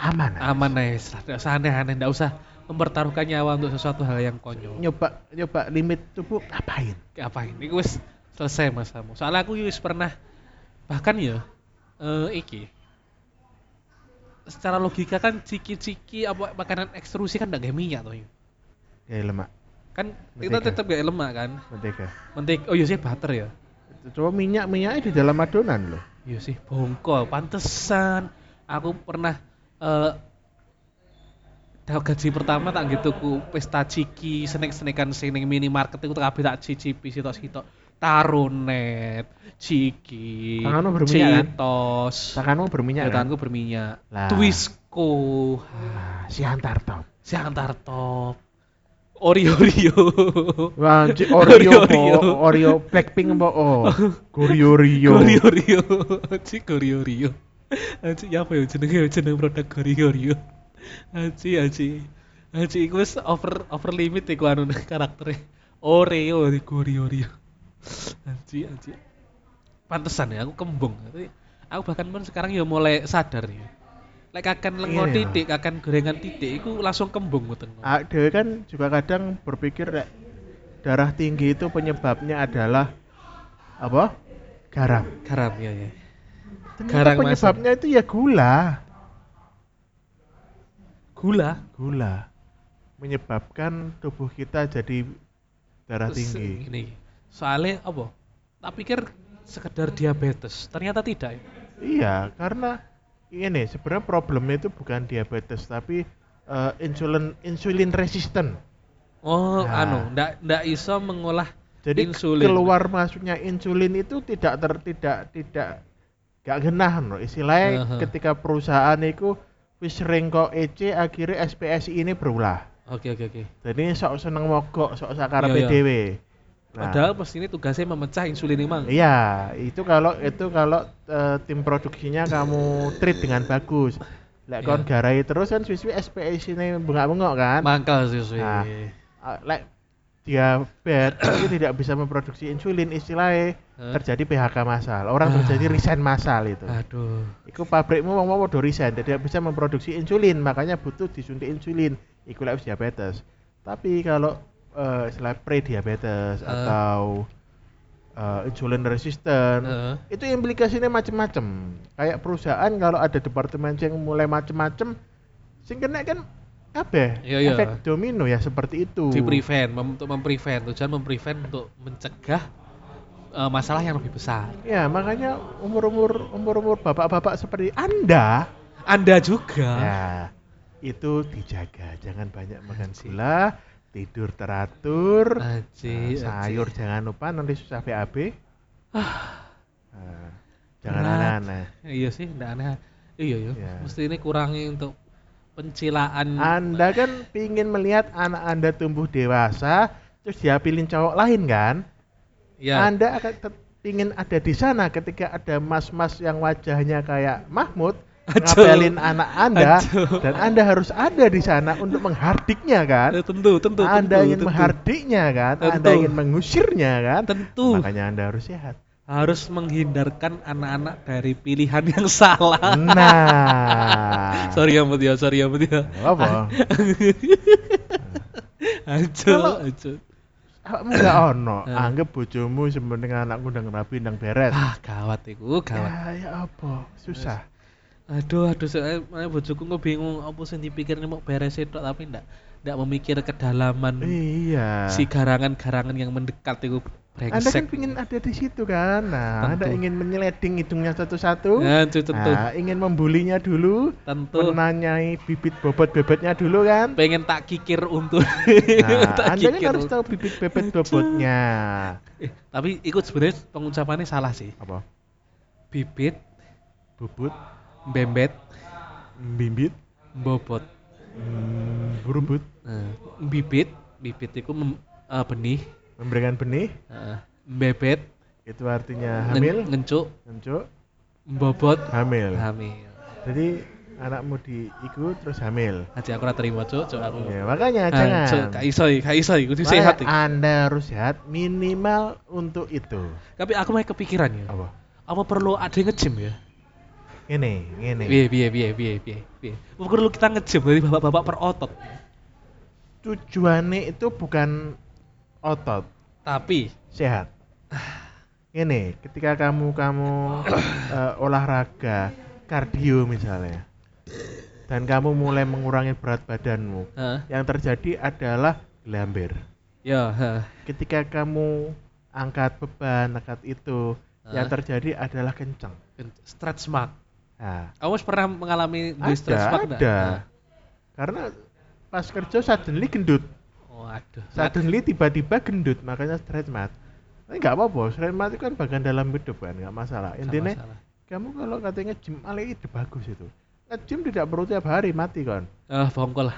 B: aman. aja.
A: aman nih tidak usah aneh aneh tidak usah mempertaruhkan nyawa untuk sesuatu hal yang konyol
B: Nyoba nyoba limit tubuh ngapain?
A: apa ini wis selesai masamu soalnya aku wis pernah bahkan ya eh iki secara logika kan ciki-ciki apa makanan ekstrusi kan enggak minyak toh Yu.
B: Ya lemak,
A: kan kita
B: Mentega.
A: tetap gak lemak kan
B: mentega.
A: mentik oh iya sih butter ya
B: Coba minyak minyaknya di dalam adonan loh.
A: iya sih bongkol pantesan aku pernah eh dah gaji pertama tak gitu ku pesta ciki senek senekan sening minimarket itu kabeh tak cicipi sitok sitok tarunet ciki
B: Tanganmu berminyak, kan?
A: citos
B: Tanganmu
A: Ya,
B: berminyak kan?
A: tanganku berminyak
B: Lah.
A: Twisco
B: Ah, si antar tau.
A: Siantar Top Oreo Oreo
B: Wah, ci-
A: Oreo,
B: Oreo, po,
A: Oreo.
B: Oreo, Blackpink po, oh, Gorio Rio.
A: Oreo Oreo Cik Oreo Oreo Aci ya apa ya jenenge jeneng produk Oreo Oreo Aci aci Aci iku wis over over limit iku anu karaktere Oreo di Oreo Oreo Aci aci Pantesan ya aku kembung Tapi aku bahkan pun sekarang ya mulai sadar ya Lek kakan lengo
B: Iya.
A: titik, kakan gorengan titik, iku langsung kembung ngoten.
B: Ah, Dewi kan juga kadang berpikir rek, darah tinggi itu penyebabnya adalah apa? Garam.
A: Garam ya ya.
B: Ternyata
A: Garang masam.
B: penyebabnya itu ya gula.
A: Gula
B: Gula menyebabkan tubuh kita jadi darah
A: Terus
B: tinggi.
A: Ini. Soalnya apa? Tak pikir sekedar diabetes, ternyata tidak. ya.
B: Iya, karena ini sebenarnya problemnya itu bukan diabetes tapi eh, insulin insulin resisten.
A: Oh,
B: Nah.
A: anu, ndak ndak iso mengolah
B: Jadi
A: insulin.
B: keluar masuknya insulin itu tidak ter tidak tidak gak genah no. Istilahnya
A: Aha.
B: ketika perusahaan itu wis sering kok EC akhirnya SPSI ini berulah.
A: Oke, oke, oke.
B: Jadi sok seneng mogok, sok sakar
A: Iya, iya.
B: PDW.
A: Padahal pas ini tugasnya memecah insulin emang.
B: Nah. Iya, itu kalau itu kalau eh, tim produksinya kamu treat dengan bagus. Lek
A: Iya.
B: kon garai terus kan suwi-suwi SPSI ini bengak-bengok kan.
A: Mangkal sih sih.
B: Nah. Ah, Lek diabetes itu tidak bisa memproduksi insulin istilahnya
A: Hah?
B: terjadi PHK massal. Orang
A: Ah.
B: terjadi resign massal itu.
A: Aduh.
B: Iku pabrikmu mau mau udah resign, tidak bisa memproduksi insulin, makanya butuh disuntik insulin. Iku lek wis diabetes. Tapi kalau eh istilah pre diabetes
A: Ah.
B: atau eh, insulin resisten,
A: Heeh.
B: itu implikasinya macem-macem kayak perusahaan kalau ada departemen yang mulai macem-macem sing kena kan kabeh
A: Iya, iya.
B: efek domino ya seperti itu
A: Di prevent, mem- untuk memprevent, tujuan memprevent untuk mencegah eh, masalah yang lebih besar.
B: ya makanya umur-umur umur-umur bapak-bapak seperti anda
A: Anda juga.
B: ya itu dijaga jangan banyak makan gula tidur teratur
A: Aji,
B: Nah, sayur jangan lupa nanti susah BAB Nah, jangan
A: Ah. Berat.
B: aneh-aneh
A: Iya sih, ndak aneh. Iya, iya.
B: Iya.
A: Mesti ini kurangi untuk pencilaan
B: Anda kan pingin melihat anak Anda tumbuh dewasa, terus dia pilih cowok lain kan?
A: ya.
B: Anda akan tet- pingin ada di sana ketika ada mas-mas yang wajahnya kayak Mahmud
A: Aduh.
B: ngapelin anak Anda
A: Aduh.
B: dan Anda harus ada di sana untuk menghardiknya kan?
A: Eh, tentu, tentu,
B: Anda
A: tentu,
B: ingin
A: tentu.
B: menghardiknya kan? Anda
A: Tentu.
B: ingin mengusirnya kan?
A: Tentu
B: Makanya Anda harus sehat.
A: harus menghindarkan anak-anak dari pilihan yang salah.
B: Nah.
A: sorry ya, Mbak Tia, sorry ya, Mbak Tia.
B: Apa?
A: Hancur,
B: Kalau-
A: hancur.
B: Awakmu gak ono,
A: Eh.
B: anggap bojomu sementing anakku ndang rapi ndang beres.
A: Ah, gawat iku, gawat.
B: Ya, ya apa? Susah.
A: Aduh, aduh, saya mana bojoku kok bingung apa sing dipikirnya mau beres tok tapi ndak ndak memikir kedalaman Hmm.
B: Iya.
A: si garangan-garangan yang mendekat iku
B: Anda kan
A: brengsek.
B: pingin ada di situ kan? Nah, Anda
A: Tentu.
B: ingin menyeleding hidungnya satu-satu.
A: Hancur, Ya, tentu,
B: Nah, ingin membulinya dulu,
A: tentu.
B: menanyai bibit bobot bebetnya dulu kan?
A: Pengen tak kikir untuk
B: Nah,
A: tak
B: Anda kan
A: kikir
B: harus
A: untuk-
B: tahu bibit bebet bobotnya.
A: Eh, tapi ikut sebenarnya pengucapannya salah sih.
B: Apa?
A: Bibit,
B: Bubut,
A: bembet,
B: bimbit,
A: bobot.
B: mm, berubut,
A: Nah, bibit, bibit itu mem- eh, benih,
B: memberikan benih,
A: eh, bebet,
B: itu
A: ngen-
B: artinya hamil,
A: ngencuk,
B: ngencuk,
A: bobot,
B: hamil.
A: hamil.
B: Jadi anakmu di iku terus hamil.
A: Aja aku ora terima cuk, cuk aku.
B: Ya, makanya
A: Ah,
B: jangan. ah.
A: Cuk, gak iso, iki, gak iso iki, kudu
B: Makanya
A: sehat iki.
B: Anda harus sehat minimal untuk itu.
A: Tapi aku malah kepikiran ya.
B: Apa?
A: Apa perlu ada yang nge-gym ya?
B: Ini, ini.
A: Piye piye piye piye piye piye. Apa perlu kita nge-gym dari bapak-bapak perotot.
B: Tujuannya itu bukan otot,
A: Tapi
B: sehat. Ini, ketika kamu kamu eh, olahraga, kardio misalnya, dan kamu mulai mengurangi berat badanmu,
A: Heeh.
B: yang terjadi adalah gelambir.
A: ya, heeh.
B: Ketika kamu angkat beban, angkat itu,
A: Ah.
B: yang terjadi adalah kencang.
A: stretch mark.
B: Nah,
A: Kamu pernah mengalami di
B: ada,
A: stretch mark nggak?
B: ada.
A: Nah.
B: Karena pas kerja suddenly gendut,
A: Waduh.
B: suddenly tiba-tiba gendut, makanya stretch mark. Tapi nggak apa-apa, stretch mark itu kan bagian dalam hidup kan, nggak masalah. Intinya
A: Salah, salah.
B: kamu kalau katanya gym alih itu bagus itu. Nge-gym tidak perlu tiap hari mati kan.
A: Ah, bongkol lah.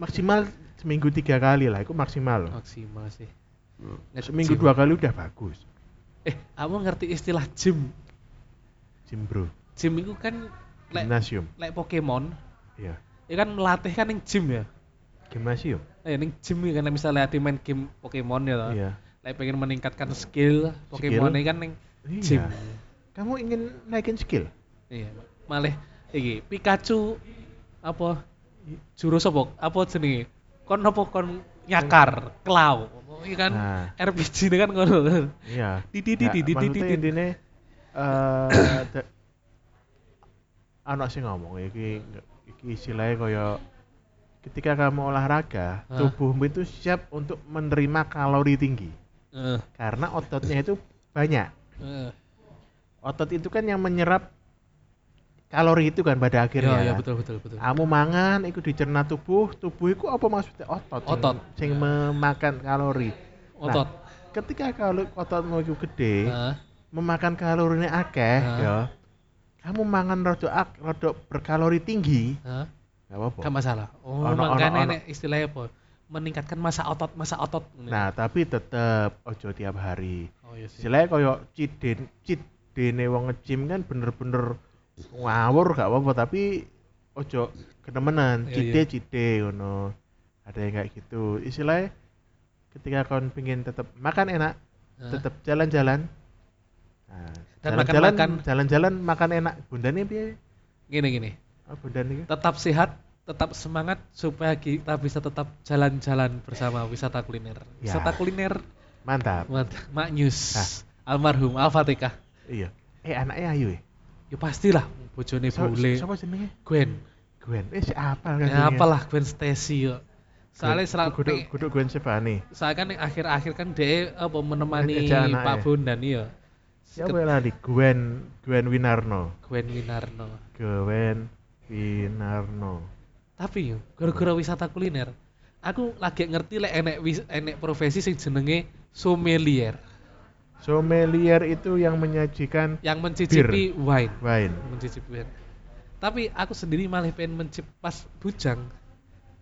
B: Maksimal seminggu tiga kali lah, itu maksimal. loh.
A: Maksimal sih. Nge-gym.
B: Hmm. Seminggu dua kali udah bagus.
A: Eh, kamu ngerti istilah gym?
B: Gym bro,
A: Gym itu kan lek
B: gymnasium.
A: lek Pokemon,
B: Iya,
A: ya kan melatih kan yang gym ya.
B: gymnasium.
A: Eh, yang gym ya kan misalnya hati main game Pokemon ya toh.
B: Iya.
A: Lek pengen meningkatkan skill Pokemon ini kan yang gym.
B: Iya. Kamu ingin naikin skill?
A: Iya. Malah iki Pikachu apa jurus apa? Apa jenenge? Kon apa kon nyakar, klau. Iya kan
B: Nah.
A: RPG ini kan ngono.
B: Iya.
A: Didi, didi, didi,
B: maksudnya
A: didi.
B: intine, eh, da- anak sih ngomong iki iki istilahnya kaya ketika kamu olahraga
A: Hah?
B: tubuhmu itu siap untuk menerima kalori tinggi
A: Heeh.
B: karena ototnya itu banyak
A: Heeh.
B: otot itu kan yang menyerap kalori itu kan pada akhirnya
A: Ya, ya betul betul betul.
B: kamu mangan itu dicerna tubuh tubuh itu apa maksudnya otot sing-
A: Otot.
B: sing memakan kalori Nah,
A: Otot.
B: ketika kalau ototmu itu gede
A: Heeh.
B: memakan kalorinya akeh
A: Hah?
B: ya kamu mangan rada ak rada berkalori tinggi
A: Heeh.
B: nggak apa-apa
A: Gak masalah. Oh,
B: Ono, ono,
A: makanya
B: ono.
A: nek istilahnya apa? Meningkatkan masa otot, masa otot.
B: nah tapi tetep ojo tiap hari
A: oh iya sih.
B: istilahnya koyo ciden cidene wong nge-gym kan bener-bener ngawur gak apa-apa tapi ojo kenemenan
A: Iya,
B: cide
A: iya.
B: cide ngono ada yang kayak gitu istilahnya ketika kau pengen tetap makan enak
A: Heeh.
B: tetap jalan-jalan nah,
A: Ah. Dan
B: jalan-jalan
A: makan-makan.
B: jalan-jalan makan enak bundane piye
A: Gini gini.
B: oh, bundane iki?
A: Tetap sehat, tetap semangat supaya kita bisa tetap jalan-jalan bersama wisata kuliner.
B: Ya. Nah.
A: Wisata kuliner
B: mantap
A: mantap. Mak News. Almarhum Al Fatihah.
B: Iya. Eh anaknya Ayu ya?
A: Ya pastilah bojone
B: Sa-
A: bule.
B: Siapa jenenge?
A: Gwen.
B: Gwen. Eh si apal kan
A: Ya
B: jenenge?
A: apalah Gwen Stacy yo. Soalnya
B: Gwen-
A: serang
B: Guduk guduk Gwen Stefani.
A: saya kan yang akhir-akhir kan dia apa menemani
B: Ngejak anaknya.
A: Pak Bondan iya.
B: Siapa yang lali? Gwen Gwen Winarno.
A: Gwen Winarno.
B: Gwen Winarno.
A: tapi yo gara-gara wisata kuliner aku lagi ngerti lek enek wis- enek profesi sing jenenge sommelier
B: Sommelier itu yang menyajikan
A: yang mencicipi wine
B: wine.
A: mencicipi wine tapi aku sendiri malah pengen mencip pas bujang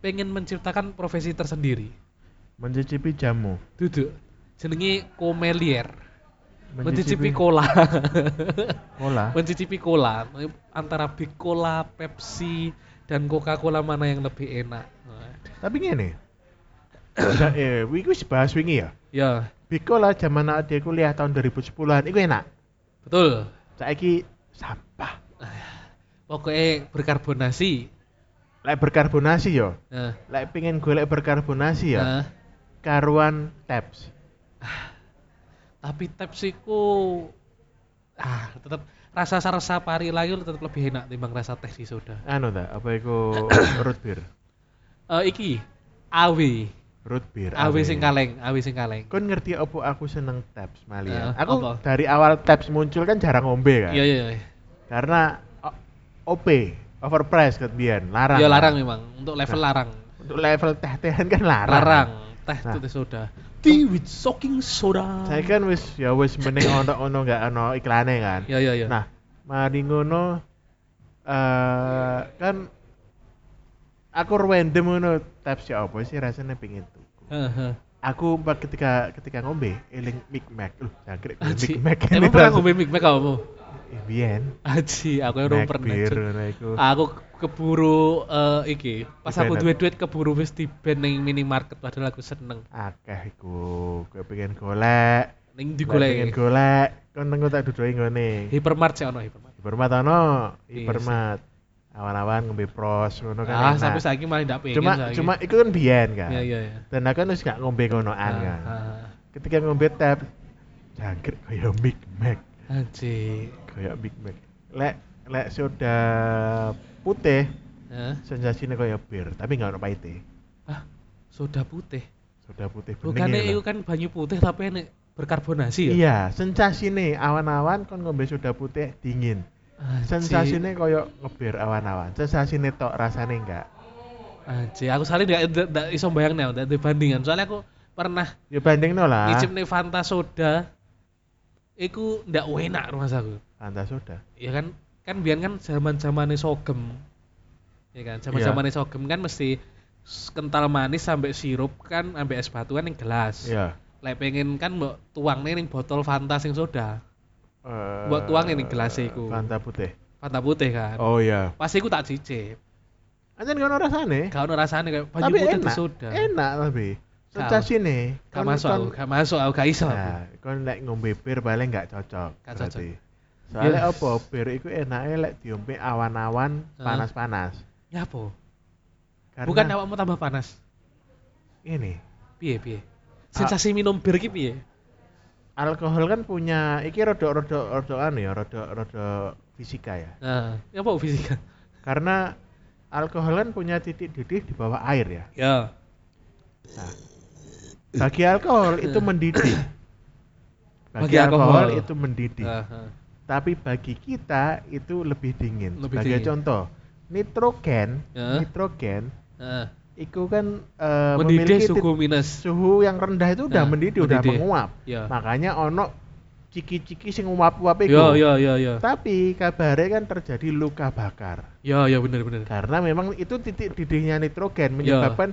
A: pengen menciptakan profesi tersendiri
B: Mencicipi jamu.
A: duduk jenenge komelier mencicipi cola
B: kola.
A: mencicipi cola antara Big Cola, Pepsi dan Coca-Cola mana yang lebih enak Nah,
B: Tapi ngene. Udah, eh, wi- wis bahas wingi ya.
A: ya
B: Bikola zaman adik kuliah tahun 2010-an iku enak.
A: betul
B: Saiki sampah.
A: pokoknya berkarbonasi
B: Lek berkarbonasi ya. yo.
A: nah,
B: Lek pengen golek berkarbonasi ya.
A: nah,
B: karuan tabs
A: tapi tepsiku ah tetap rasa rasa pari layu tetap lebih enak timbang rasa teh di soda
B: anu ta apa iku root beer
A: Eh iki awi
B: root beer
A: awi Ah, sing kaleng awi sing kaleng
B: kon ngerti opo aku seneng tabs malian
A: Ya,
B: aku
A: apa?
B: dari awal tabs muncul kan jarang ngombe kan
A: iya iya iya.
B: karena o- OP overpriced kan biyen larang
A: iya
B: kan.
A: larang memang untuk level larang
B: untuk level teh tehan kan larang
A: larang teh
B: Nah.
A: itu teh soda tea with soaking soda
B: saya kan wis ya wis mending ono ono nggak ono iklane kan
A: iya iya iya
B: nah mari ngono eh kan aku random ngono tabs ya opo sih rasanya pengen tuku
A: Heeh.
B: aku mbak ketika ketika ngombe eling Big Mac loh jangkrik
A: Aji.
B: Big Mac
A: Emang pernah ngombe Big Mac kamu?
B: eh, biyen
A: Aji, aku yang
B: naik
A: belum pernah. Ah.
B: bir
A: Cuk.
B: ngono iku.
A: Aku keburu eh, iki, pas
B: Di
A: aku
B: Bennett.
A: duit-duit keburu wis di band ning minimarket padahal aku seneng.
B: Akeh iku. Kowe pengen golek,
A: Ning
B: lek
A: digoleki.
B: pengen golek, kon nengko tak dudoi ngene.
A: Hypermart sih ono hypermart.
B: Hipermat ono,
A: Iya
B: hipermat. Awan-awan ngombe pros ngono kan.
A: Ah,
B: enak.
A: sampai saiki malah ndak pengen
B: cuma
A: saiki.
B: cuma itu kan biyen kan.
A: Iya, iya, iya.
B: Dan aku kan wis gak ngombe konoan
A: Ah,
B: kan.
A: ah, ah.
B: Ketika ngombe tap jangkrik kaya Big Mac,
A: Aji.
B: kaya Big Mac. Lek lek soda putih
A: Hah?
B: sensasinya kaya bir, tapi nggak ono pahitnya.
A: Ah, soda putih.
B: Soda putih bening
A: Bukannya
B: ini
A: itu
B: lho.
A: kan banyu putih tapi enek berkarbonasi ya?
B: ya, Iya, sensasinya awan-awan kon ngombe soda putih dingin.
A: Anjir.
B: Sensasinya kaya ngebir awan-awan. Sensasinya tok rasanya enggak.
A: Anjir, aku soalnya nggak nggak- nggak iso bayangnya, nggak ada bandingan. Soalnya aku pernah
B: Ya banding no lah.
A: ngicip nih Fanta soda, iku ndak enak rumah aku.
B: Fanta soda.
A: Ya kan, kan biar kan zaman zamannya sogem, ya kan,
B: Iya.
A: zaman zamannya sogem kan mesti s- kental manis sampai sirup kan, sampai es batu kan yang gelas.
B: Iya.
A: Lek pengen kan mbok tuang nih botol Fanta sing soda,
B: Eh,
A: Buat tuang ini gelasnya iku.
B: Fanta putih.
A: Fanta putih kan.
B: Oh iya.
A: Pas iku tak cicip,
B: Anjen ngono rasane.
A: gak ono rasane kayak banyu
B: Eh. Tapi
A: putih di
B: enak.
A: soda.
B: Enak tapi.
A: Gak-
B: Sensasinya.
A: Gak
B: kon-
A: masuk
B: kon-
A: aku, gak masuk aku, gak iso aku.
B: Nah, kon lek ngombe bir paling enggak cocok.
A: Gak
B: berarti.
A: cocok.
B: Soalnya
A: Ya.
B: apa bir iku enake lek diombe awan-awan
A: Hah?
B: panas-panas.
A: Nyapo?
B: Karena
A: Ya Bukan awakmu tambah panas.
B: ini
A: Piye piye?
B: Ah.
A: Sensasi minum bir ki piye?
B: alkohol kan punya iki rodok rodok rodok anu ya rodok rodok fisika ya
A: Nah, ya apa fisika?
B: karena alkohol kan punya titik didih di bawah air ya
A: Ya.
B: nah, bagi alkohol itu mendidih bagi,
A: Bagi
B: alkohol,
A: alkohol.
B: itu mendidih
A: Heeh.
B: tapi bagi kita itu lebih dingin
A: Lebih
B: sebagai
A: dingin.
B: contoh nitrogen
A: Ya.
B: nitrogen
A: Heeh.
B: itu kan eh,
A: nah. Mendidih
B: memiliki tit-
A: suhu minus.
B: suhu yang rendah itu udah
A: Nah,
B: mendidih, udah
A: mendidih.
B: menguap
A: Ya.
B: makanya ono ciki-ciki sing uap-uap itu
A: Ya ya ya ya.
B: Tapi kabarnya kan terjadi luka bakar
A: Ya ya bener bener.
B: karena memang itu titik didihnya nitrogen menyebabkan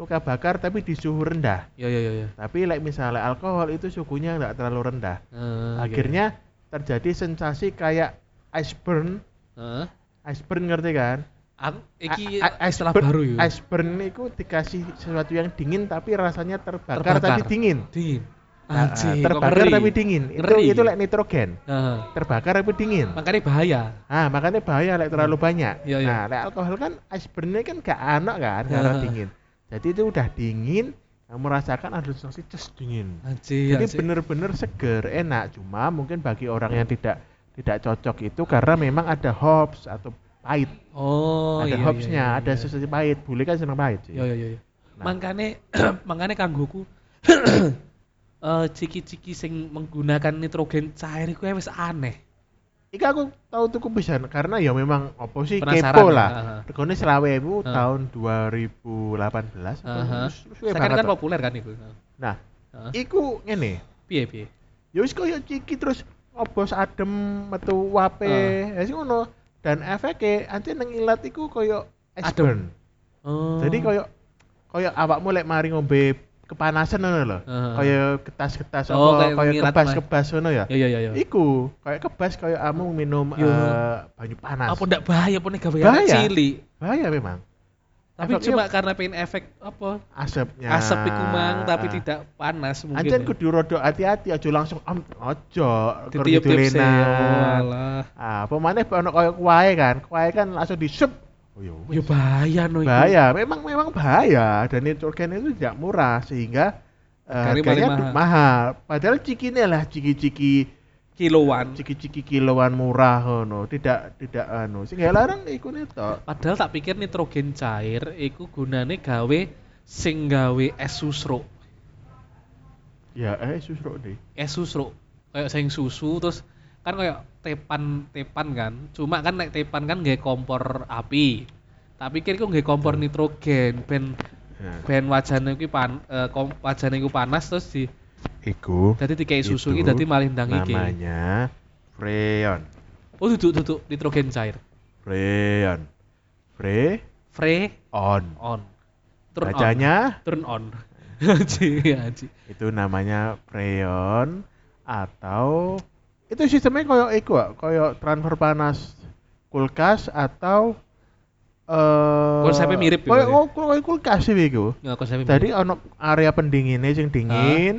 B: luka bakar tapi di suhu rendah.
A: Ya ya ya ya.
B: Tapi like misalnya alkohol itu suhunya nggak terlalu rendah.
A: Heeh,
B: Akhirnya
A: iya.
B: terjadi sensasi kayak ice burn.
A: oke. Heeh.
B: Ice burn ngerti kan?
A: ya, Eh? Aku iki
B: A- a-
A: istilah
B: burn-
A: baru ya.
B: Ice burn itu dikasih sesuatu yang dingin tapi rasanya terbakar, tapi
A: Terbakar.
B: dingin.
A: Dingin.
B: Nah,
A: Anjir, kok
B: terbakar
A: ngeri.
B: tapi dingin. Itu
A: Ngeri.
B: itu like nitrogen.
A: Heeh.
B: Terbakar tapi dingin.
A: Makanya bahaya.
B: Ah, makanya bahaya lek terlalu banyak.
A: Iya, iya.
B: Nah, lek alkohol kan ice burn-nya kan gak anak kan, gak
A: Iya.
B: ada dingin. Jadi itu udah dingin, kamu merasakan halusinasi ces dingin.
A: Ah, Anjir.
B: Jadi
A: anjir.
B: bener-bener seger, enak. Cuma mungkin bagi orang yang tidak tidak cocok itu karena memang ada hops atau pahit.
A: Oh,
B: ada
A: iya, iya,
B: hopsnya,
A: iya,
B: ada
A: iya.
B: sesuatu pahit. Bule kan seneng pahit sih.
A: Ya ya ya. ya.
B: Nah.
A: Makane makane kanggoku eh ciki-ciki sing menggunakan nitrogen cair iku wis aneh.
B: Ika aku tahu tuku pisan karena ya memang opo sih
A: Penasaran, ya,
B: kepo
A: ha,
B: lah.
A: ha.
B: Regane selawe ibu
A: Ha.
B: tahun 2018. apa?
A: Heeh.
B: Suwe
A: Eh, Sekarang
B: banget
A: kan
B: kok.
A: populer kan iku.
B: Nah,
A: Heeh.
B: iku ngene.
A: Piye piye?
B: ya wis kaya ciki terus ngobos adem metu wape
A: Ah.
B: ya sing ngono dan efeknya anti neng ilat iku kaya ice
A: Adem.
B: burn.
A: Oh.
B: jadi kaya kaya awakmu lek mari ngombe kepanasan ngono lho
A: Ah.
B: kaya getas-getas
A: Oh, kayak
B: apa kaya
A: ngilat,
B: kebas-kebas ngono ya
A: Ya ya ya ya.
B: iku kaya kebas kaya amu minum
A: Yo.
B: eh, banyu panas
A: Iya. Apa ndak bahaya apa gawe
B: Bahaya. iya.
A: anak cilik?
B: bahaya memang
A: Tapi
B: Efeknya-
A: cuma karena pengen efek apa?
B: asapnya
A: Asap iku mang tapi
B: Ah.
A: tidak panas mungkin. ya.
B: Anjen Ya. kudu rodok hati-hati aja langsung am ojo kor
A: ditiup-tiup sih. Oh,
B: didolenan.
A: alah.
B: Ah, pemane ono koyo kuae kan. Kuae kan langsung disep. Oh ya
A: Ya
B: wis.
A: bahaya no iku.
B: Bahaya, memang memang bahaya dan nitrogen itu tidak murah sehingga eh,
A: Harganya
B: harganya
A: paling
B: mahal. mahal. Padahal cikine lah ciki-ciki
A: Kiloan.
B: ciki-ciki kiloan murah ngono, tidak tidak anu. Sing gak larang iku netok.
A: Padahal tak pikir nitrogen cair iku gunane gawe sing gawe es susruk.
B: Ya eh susruk deh.
A: Es susruk kayak sing susu terus kan kayak tepan tepan kan. Cuma kan nek tepan kan nggawe kompor api. Tak pikir iku nggawe kompor nitrogen ben
B: Nah,
A: ben wajane kuwi pan eh, kom, wajane iku panas terus di
B: iku
A: dadi dikai susu iki
B: itu
A: dadi malih ndang iki.
B: Gitu. Namanya freon.
A: Oh duduk duduk nitrogen cair.
B: Freon. Freon.
A: Free
B: on.
A: on. Turn on.
B: Bacanya
A: Turn on. Haji, haji.
B: itu namanya freon atau itu sistemnya koyo iku Wak. koyo transfer panas kulkas atau eh
A: Konsepnya mirip ya,
B: koyo
A: Mas, ya?
B: koyo- koyo kulkas sih iku
A: Ya, konsepnya
B: jadi ono area pendinginnya sing
A: Ah.
B: dingin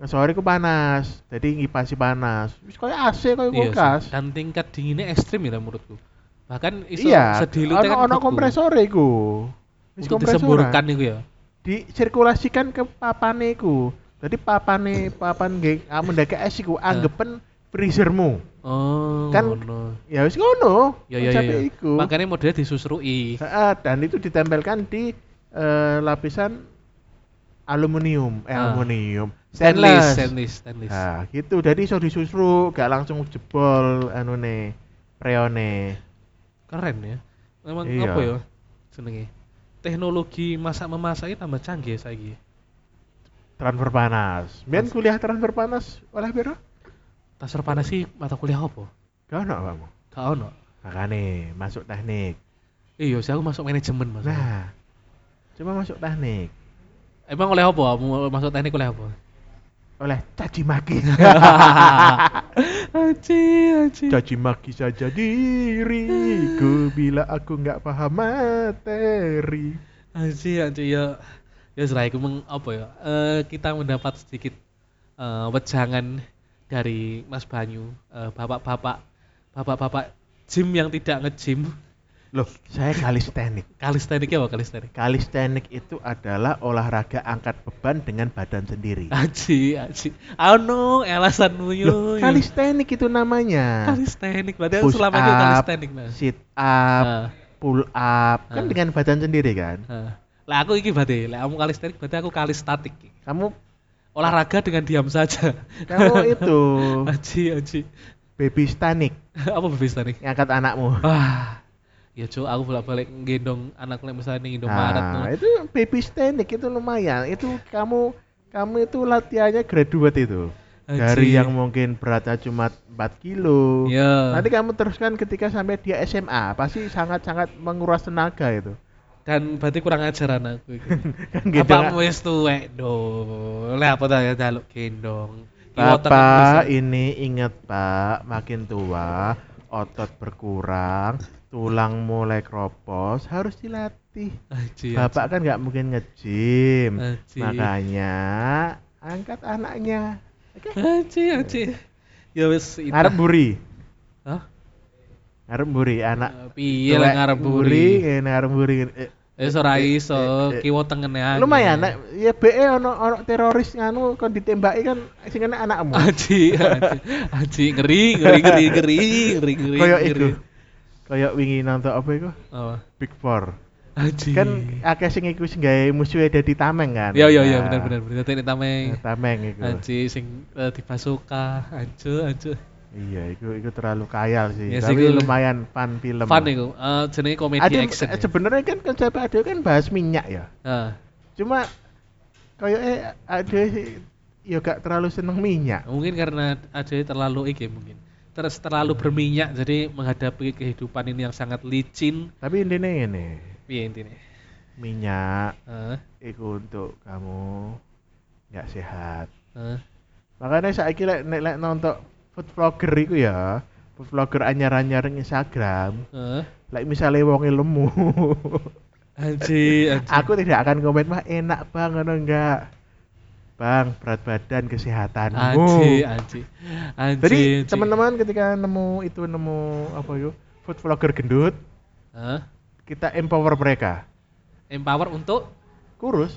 B: ngesore ku panas jadi ngipasi panas wis koyo AC
A: Iya
B: koyo
A: sih.
B: kulkas
A: dan tingkat dinginnya ekstrim ya menurutku bahkan iso
B: iya
A: sedilute
B: ono ono
A: debu.
B: kompresor iku Wis
A: untuk
B: kompresoran.
A: disemburkan itu ya
B: disirkulasikan ke papane iku jadi papane papan ge ah, mendaki es iku anggepen
A: Eh.
B: freezermu
A: oh
B: Kan-
A: ngono.
B: ya wis ngono
A: ya ya ya, ya.
B: konsepnya iku
A: makanya modelnya disusrui
B: Heeh, dan itu ditempelkan di eh, lapisan aluminium, eh,
A: Ah.
B: aluminium,
A: stainless
B: stainless.
A: stainless stainless
B: Nah, gitu. Jadi iso disusru, gak langsung jebol anune reone.
A: keren ya memang
B: Iya.
A: apa ya senengnya teknologi masak memasak ini tambah canggih ya saiki
B: Transfer panas. Biar
A: Mas-
B: kuliah transfer panas oleh piro?
A: transfer panas sih mata kuliah apa
B: Gak ono kamu.
A: gak ono
B: Makane masuk teknik.
A: iya sih aku masuk manajemen mas
B: Nah, cuma masuk teknik
A: emang oleh apa Mu- masuk teknik oleh apa
B: oleh caci maki.
A: aci aci
B: caci maki saja diriku bila aku nggak paham materi.
A: Anji, anji ya ya setelah itu meng, apa ya eh, kita mendapat sedikit eh, wejangan dari Mas Banyu eh, bapak-bapak bapak-bapak gym yang tidak nge-gym
B: Loh, saya kalistenik.
A: kalistenik ya apa kalistenik
B: Kalistenik itu adalah olahraga angkat beban dengan badan sendiri.
A: Aji, aji. Ah, Ano, alasanmu yo.
B: Loh,
A: yo. Kan
B: kalistenik itu
A: ya.
B: namanya.
A: Kalistenik, berarti
B: Push
A: selama itu
B: up,
A: kalistenik mas.
B: Sit up,
A: Ah,
B: pull up, kan
A: Ah.
B: dengan badan sendiri kan.
A: ah. Lah aku iki berarti, lah kamu kalistenik berarti aku kalistatik.
B: Kamu
A: Olahraga dengan diam saja.
B: kamu itu
A: Aji, aji.
B: baby stanik
A: apa berbeda nih?
B: ngangkat anakmu.
A: Wah, ya cu, aku bolak balik gendong anak lek misalnya nih gendong Maret
B: Nah, itu baby stanik itu lumayan. Itu kamu kamu itu latihannya graduate itu. Dari yang mungkin beratnya cuma 4 kilo.
A: ya.
B: Nanti kamu teruskan ketika sampai dia SMA, pasti sangat-sangat menguras tenaga itu.
A: Dan berarti kurang ajaran aku. iki.
B: Kan
A: apa
B: gendong-
A: wis tuwek do? Lah apa ta ya jaluk gendong. Iwotek
B: Bapak
A: kan bisa.
B: ini ingat Pak, makin tua otot berkurang, tulang mulai keropos, harus dilatih.
A: Aji, aji.
B: Bapak kan nggak mungkin nge-gym.
A: Aji.
B: Makanya angkat anaknya. Oke.
A: Aji, aji. Ya wis itu.
B: Ngarep buri,
A: Hah?
B: ngarep buri anak.
A: Piye lah
B: tuwek
A: Iya, ngarep buri.
B: ngene, ngarep buri. ngene. Eh,
A: Wis ora iso,
B: Eh, eh, eh.
A: kiwa tengene ae.
B: Lumayan, nek ya BE ono ono teroris nganu kon ditembaki kan sing kena anakmu.
A: Aji, aji, aji ngeri, ngeri, ngeri, ngeri, ngeri, ngeri.
B: Koyo
A: ngeri. Oh,
B: itu. Koyo wingi nonton apa iku?
A: Apa?
B: Big Four.
A: Aji.
B: kan akeh sing iku sing gawe musuhe dadi tameng kan.
A: Ya ya ya
B: Nah, eh,
A: benar benar benar teknik tameng.
B: Tameng iku.
A: Anji sing eh, dibasuka, anjo anjo.
B: Iya, iku iku terlalu kayal sih.
A: Ya sih,
B: Tapi
A: iku-
B: lumayan fun film.
A: Fun iku. Eh jenenge komedi
B: Ade-
A: action.
B: eh,
A: ya.
B: sebenarnya kan konsep Ade kan bahas minyak ya.
A: Ah,
B: Cuma koyoke Ade sih ya gak terlalu seneng minyak.
A: mungkin karena ada terlalu iki mungkin. Terus terlalu berminyak jadi menghadapi kehidupan ini yang sangat licin.
B: Tapi intinya ini
A: Piye intine?
B: minyak
A: Heeh.
B: iku untuk kamu nggak sehat.
A: heeh.
B: Makanya saya kira nek nek nonton food vlogger iku ya, food vlogger anyar-anyar ning Instagram,
A: heeh.
B: like misalnya wonge e lemu
A: Anji, anji.
B: aku tidak akan komen mah enak bang ngono enggak bang berat badan
A: Anji,
B: kesehatanmu
A: anji. Anji.
B: jadi
A: anji.
B: teman-teman ketika nemu itu nemu apa yuk food vlogger gendut
A: Heeh.
B: kita empower mereka
A: empower untuk
B: kurus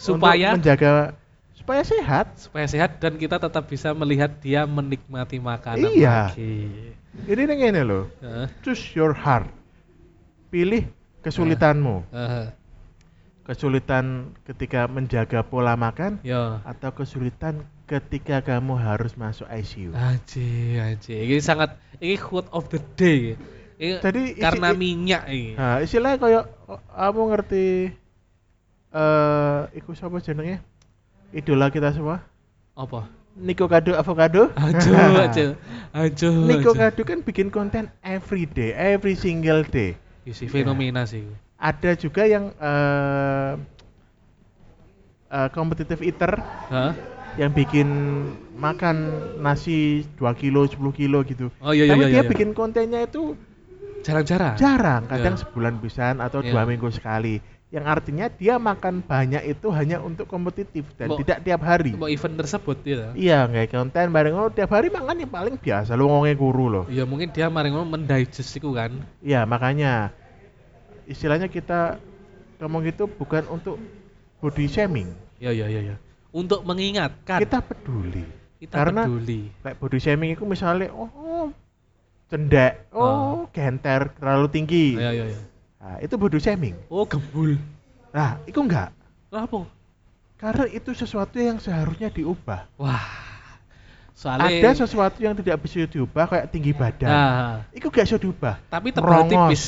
B: untuk
A: supaya
B: menjaga supaya sehat
A: supaya sehat dan kita tetap bisa melihat dia menikmati makanan
B: Iya.
A: lagi.
B: jadi ini ngene loh
A: Heeh.
B: choose your heart pilih kesulitanmu
A: heeh.
B: kesulitan ketika menjaga pola makan
A: Yo.
B: atau kesulitan ketika kamu harus masuk
A: Eh,
B: ICU.
A: Aji, aji. Ini sangat ini quote of the day. Ini
B: Jadi isi-
A: karena
B: i-
A: minyak ini.
B: Nah, istilahnya koyo oh, kamu ngerti eh iku sapa jenenge? Idola kita semua.
A: Apa?
B: Nico Kado Avocado.
A: Ajo, ajo, ajo.
B: Nico
A: ajo.
B: Kado kan bikin konten every day, every single day.
A: Iya sih, fenomena sih.
B: Ada juga yang eh eh, competitive eater
A: Hah?
B: yang bikin makan nasi 2 kilo 10 kilo gitu
A: Oh iya iya
B: tapi
A: iya.
B: dia
A: iya.
B: bikin kontennya itu
A: jarang-jarang.
B: jarang kadang
A: Iya.
B: sebulan pisan atau
A: Iya.
B: dua minggu sekali yang artinya dia makan banyak itu hanya untuk kompetitif dan
A: Mbok- iya.
B: tidak tiap hari
A: Mau event tersebut ya.
B: iya nggak konten bareng oh tiap hari makan yang paling biasa lu ngomongnya guru loh
A: Ya mungkin dia maring mendigest iku kan.
B: iya makanya istilahnya kita ngomong gitu bukan untuk body shaming
A: Iya iya iya iya. Untuk mengingatkan
B: kita peduli
A: kita
B: karena-
A: peduli.
B: kayak body shaming itu misalnya oh, oh cendek oh genter terlalu tinggi
A: Ah. Iya iya iya.
B: Nah, itu body shaming
A: Oh gembul.
B: nah itu enggak
A: Kenapa?
B: karena itu sesuatu yang seharusnya diubah
A: Wah. Soalnya
B: ada sesuatu yang tidak bisa diubah kayak tinggi badan
A: Nah,
B: itu gak bisa diubah
A: tapi tebal
B: Merongos.
A: tipis.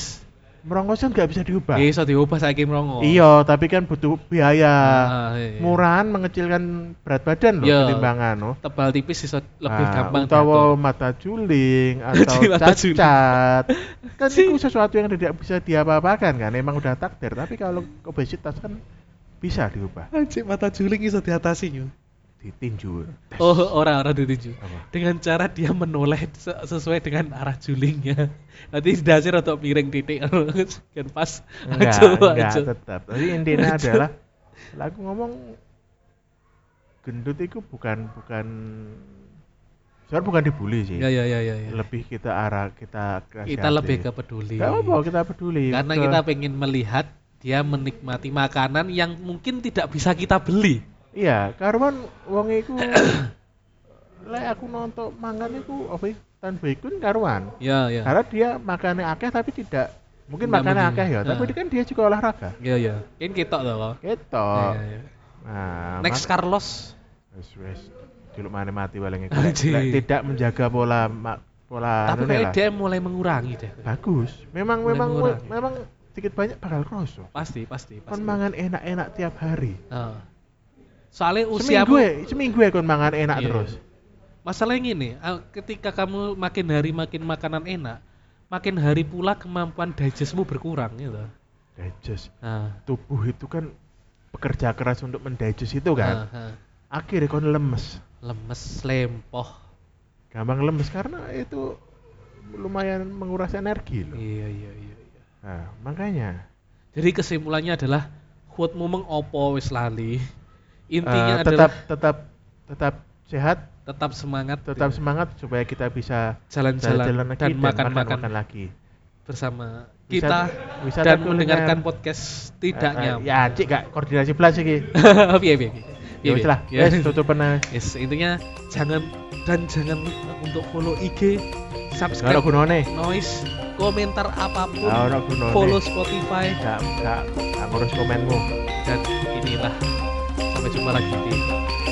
B: merongkosan gak bisa diubah
A: Ya iso diubah saiki merongos.
B: iya tapi kan butuh biaya
A: Ah, iya, iya.
B: murahan mengecilkan berat badan loh
A: Iya.
B: ketimbangan loh
A: Tebal tipis iso lebih
B: Nah,
A: gampang.
B: utawa
A: diatur.
B: mata juling atau
A: Mata juling.
B: cacat kan itu sesuatu yang tidak bisa diapa-apakan kan emang udah takdir tapi kalau obesitas kan bisa diubah
A: Anjir mata juling iso diatasi yo.
B: ditinju Tes.
A: Oh, ora ora dituju.
B: Apa?
A: Dengan cara dia menoleh se- sesuai dengan arah julingnya. Nanti dasar atau miring titik kan pas.
B: enggak
A: Acuh,
B: enggak
A: acuh.
B: tetap jadi intinya
A: Acuh.
B: adalah lah aku ngomong gendut itu bukan bukan sebenarnya bukan dibully sih
A: Ya ya ya ya. ya.
B: lebih kita arah kita
A: Kita lebih ke peduli.
B: gak gitu. apa kita peduli
A: Karena
B: Ke-
A: kita pengen melihat dia menikmati makanan yang mungkin tidak bisa kita beli.
B: Iya, karuan wong iku lek aku nonton mangan iku apa ya, Tan Baekhyun karuan.
A: Ya ya.
B: Karena dia makannya akeh tapi tidak mungkin
A: Nggak
B: makannya
A: menu.
B: akeh ya, tapi
A: Nah.
B: dia kan dia juga olahraga.
A: Ya ya. Kan ketok to kok.
B: Gitu.
A: Ya, ya, ya.
B: Nah,
A: Next
B: mak-
A: Carlos.
B: wis wis dulu mana mati paling iku.
A: Anjing.
B: Lek tidak menjaga pola ma- pola
A: Tapi
B: anune
A: kayaknya
B: Nah, lah. Nah.
A: dia mulai mengurangi deh.
B: Bagus. Memang
A: Mulai
B: memang
A: mengurangi.
B: memang sedikit banyak bakal kroso.
A: Pasti pasti pasti.
B: Kon mangan enak-enak tiap hari.
A: Heeh. Soalnya
B: Seminggu
A: usiamu
B: ya, seminggu ya kon mangan enak
A: Iya.
B: terus.
A: Masalahnya gini, ah, ketika kamu makin hari makin makanan enak, makin hari pula kemampuan digestmu berkurang gitu.
B: Digest.
A: Nah,
B: tubuh itu kan bekerja keras untuk mendigest itu kan
A: ah, ah.
B: akhirnya kon lemes
A: lemes, lempoh.
B: gampang lemes karena itu lumayan menguras energi loh
A: Iya, iya, iya. iya.
B: nah, makanya
A: Jadi kesimpulannya adalah kuatmu mengopo wis lali.
B: eh,
A: Intinya
B: tetap
A: adalah
B: tetap tetap sehat
A: tetap semangat,
B: tetap
A: gitu.
B: semangat supaya kita bisa
A: jalan-jalan
B: lagi
A: dan makan-makan
B: makan-makan lagi
A: bersama
B: Wisata-
A: kita
B: wisata
A: dan
B: kuliner.
A: mendengarkan podcast tidak
B: Eh, eh,
A: nyaman. Iya,
B: ya cik gak koordinasi belas iki
A: Piye piye piye.
B: ya
A: Piye,
B: wis
A: piye.
B: lah
A: Ya.
B: wis tutupan ae.
A: Yes, intinya jangan dan jangan lupa untuk follow IG,
B: gak ono
A: subscribe
B: gunane
A: noise, komentar apapun,
B: gak ono gunane
A: follow Spotify
B: gak gak gak ngurus komenmu
A: dan inilah sampai jumpa lagi di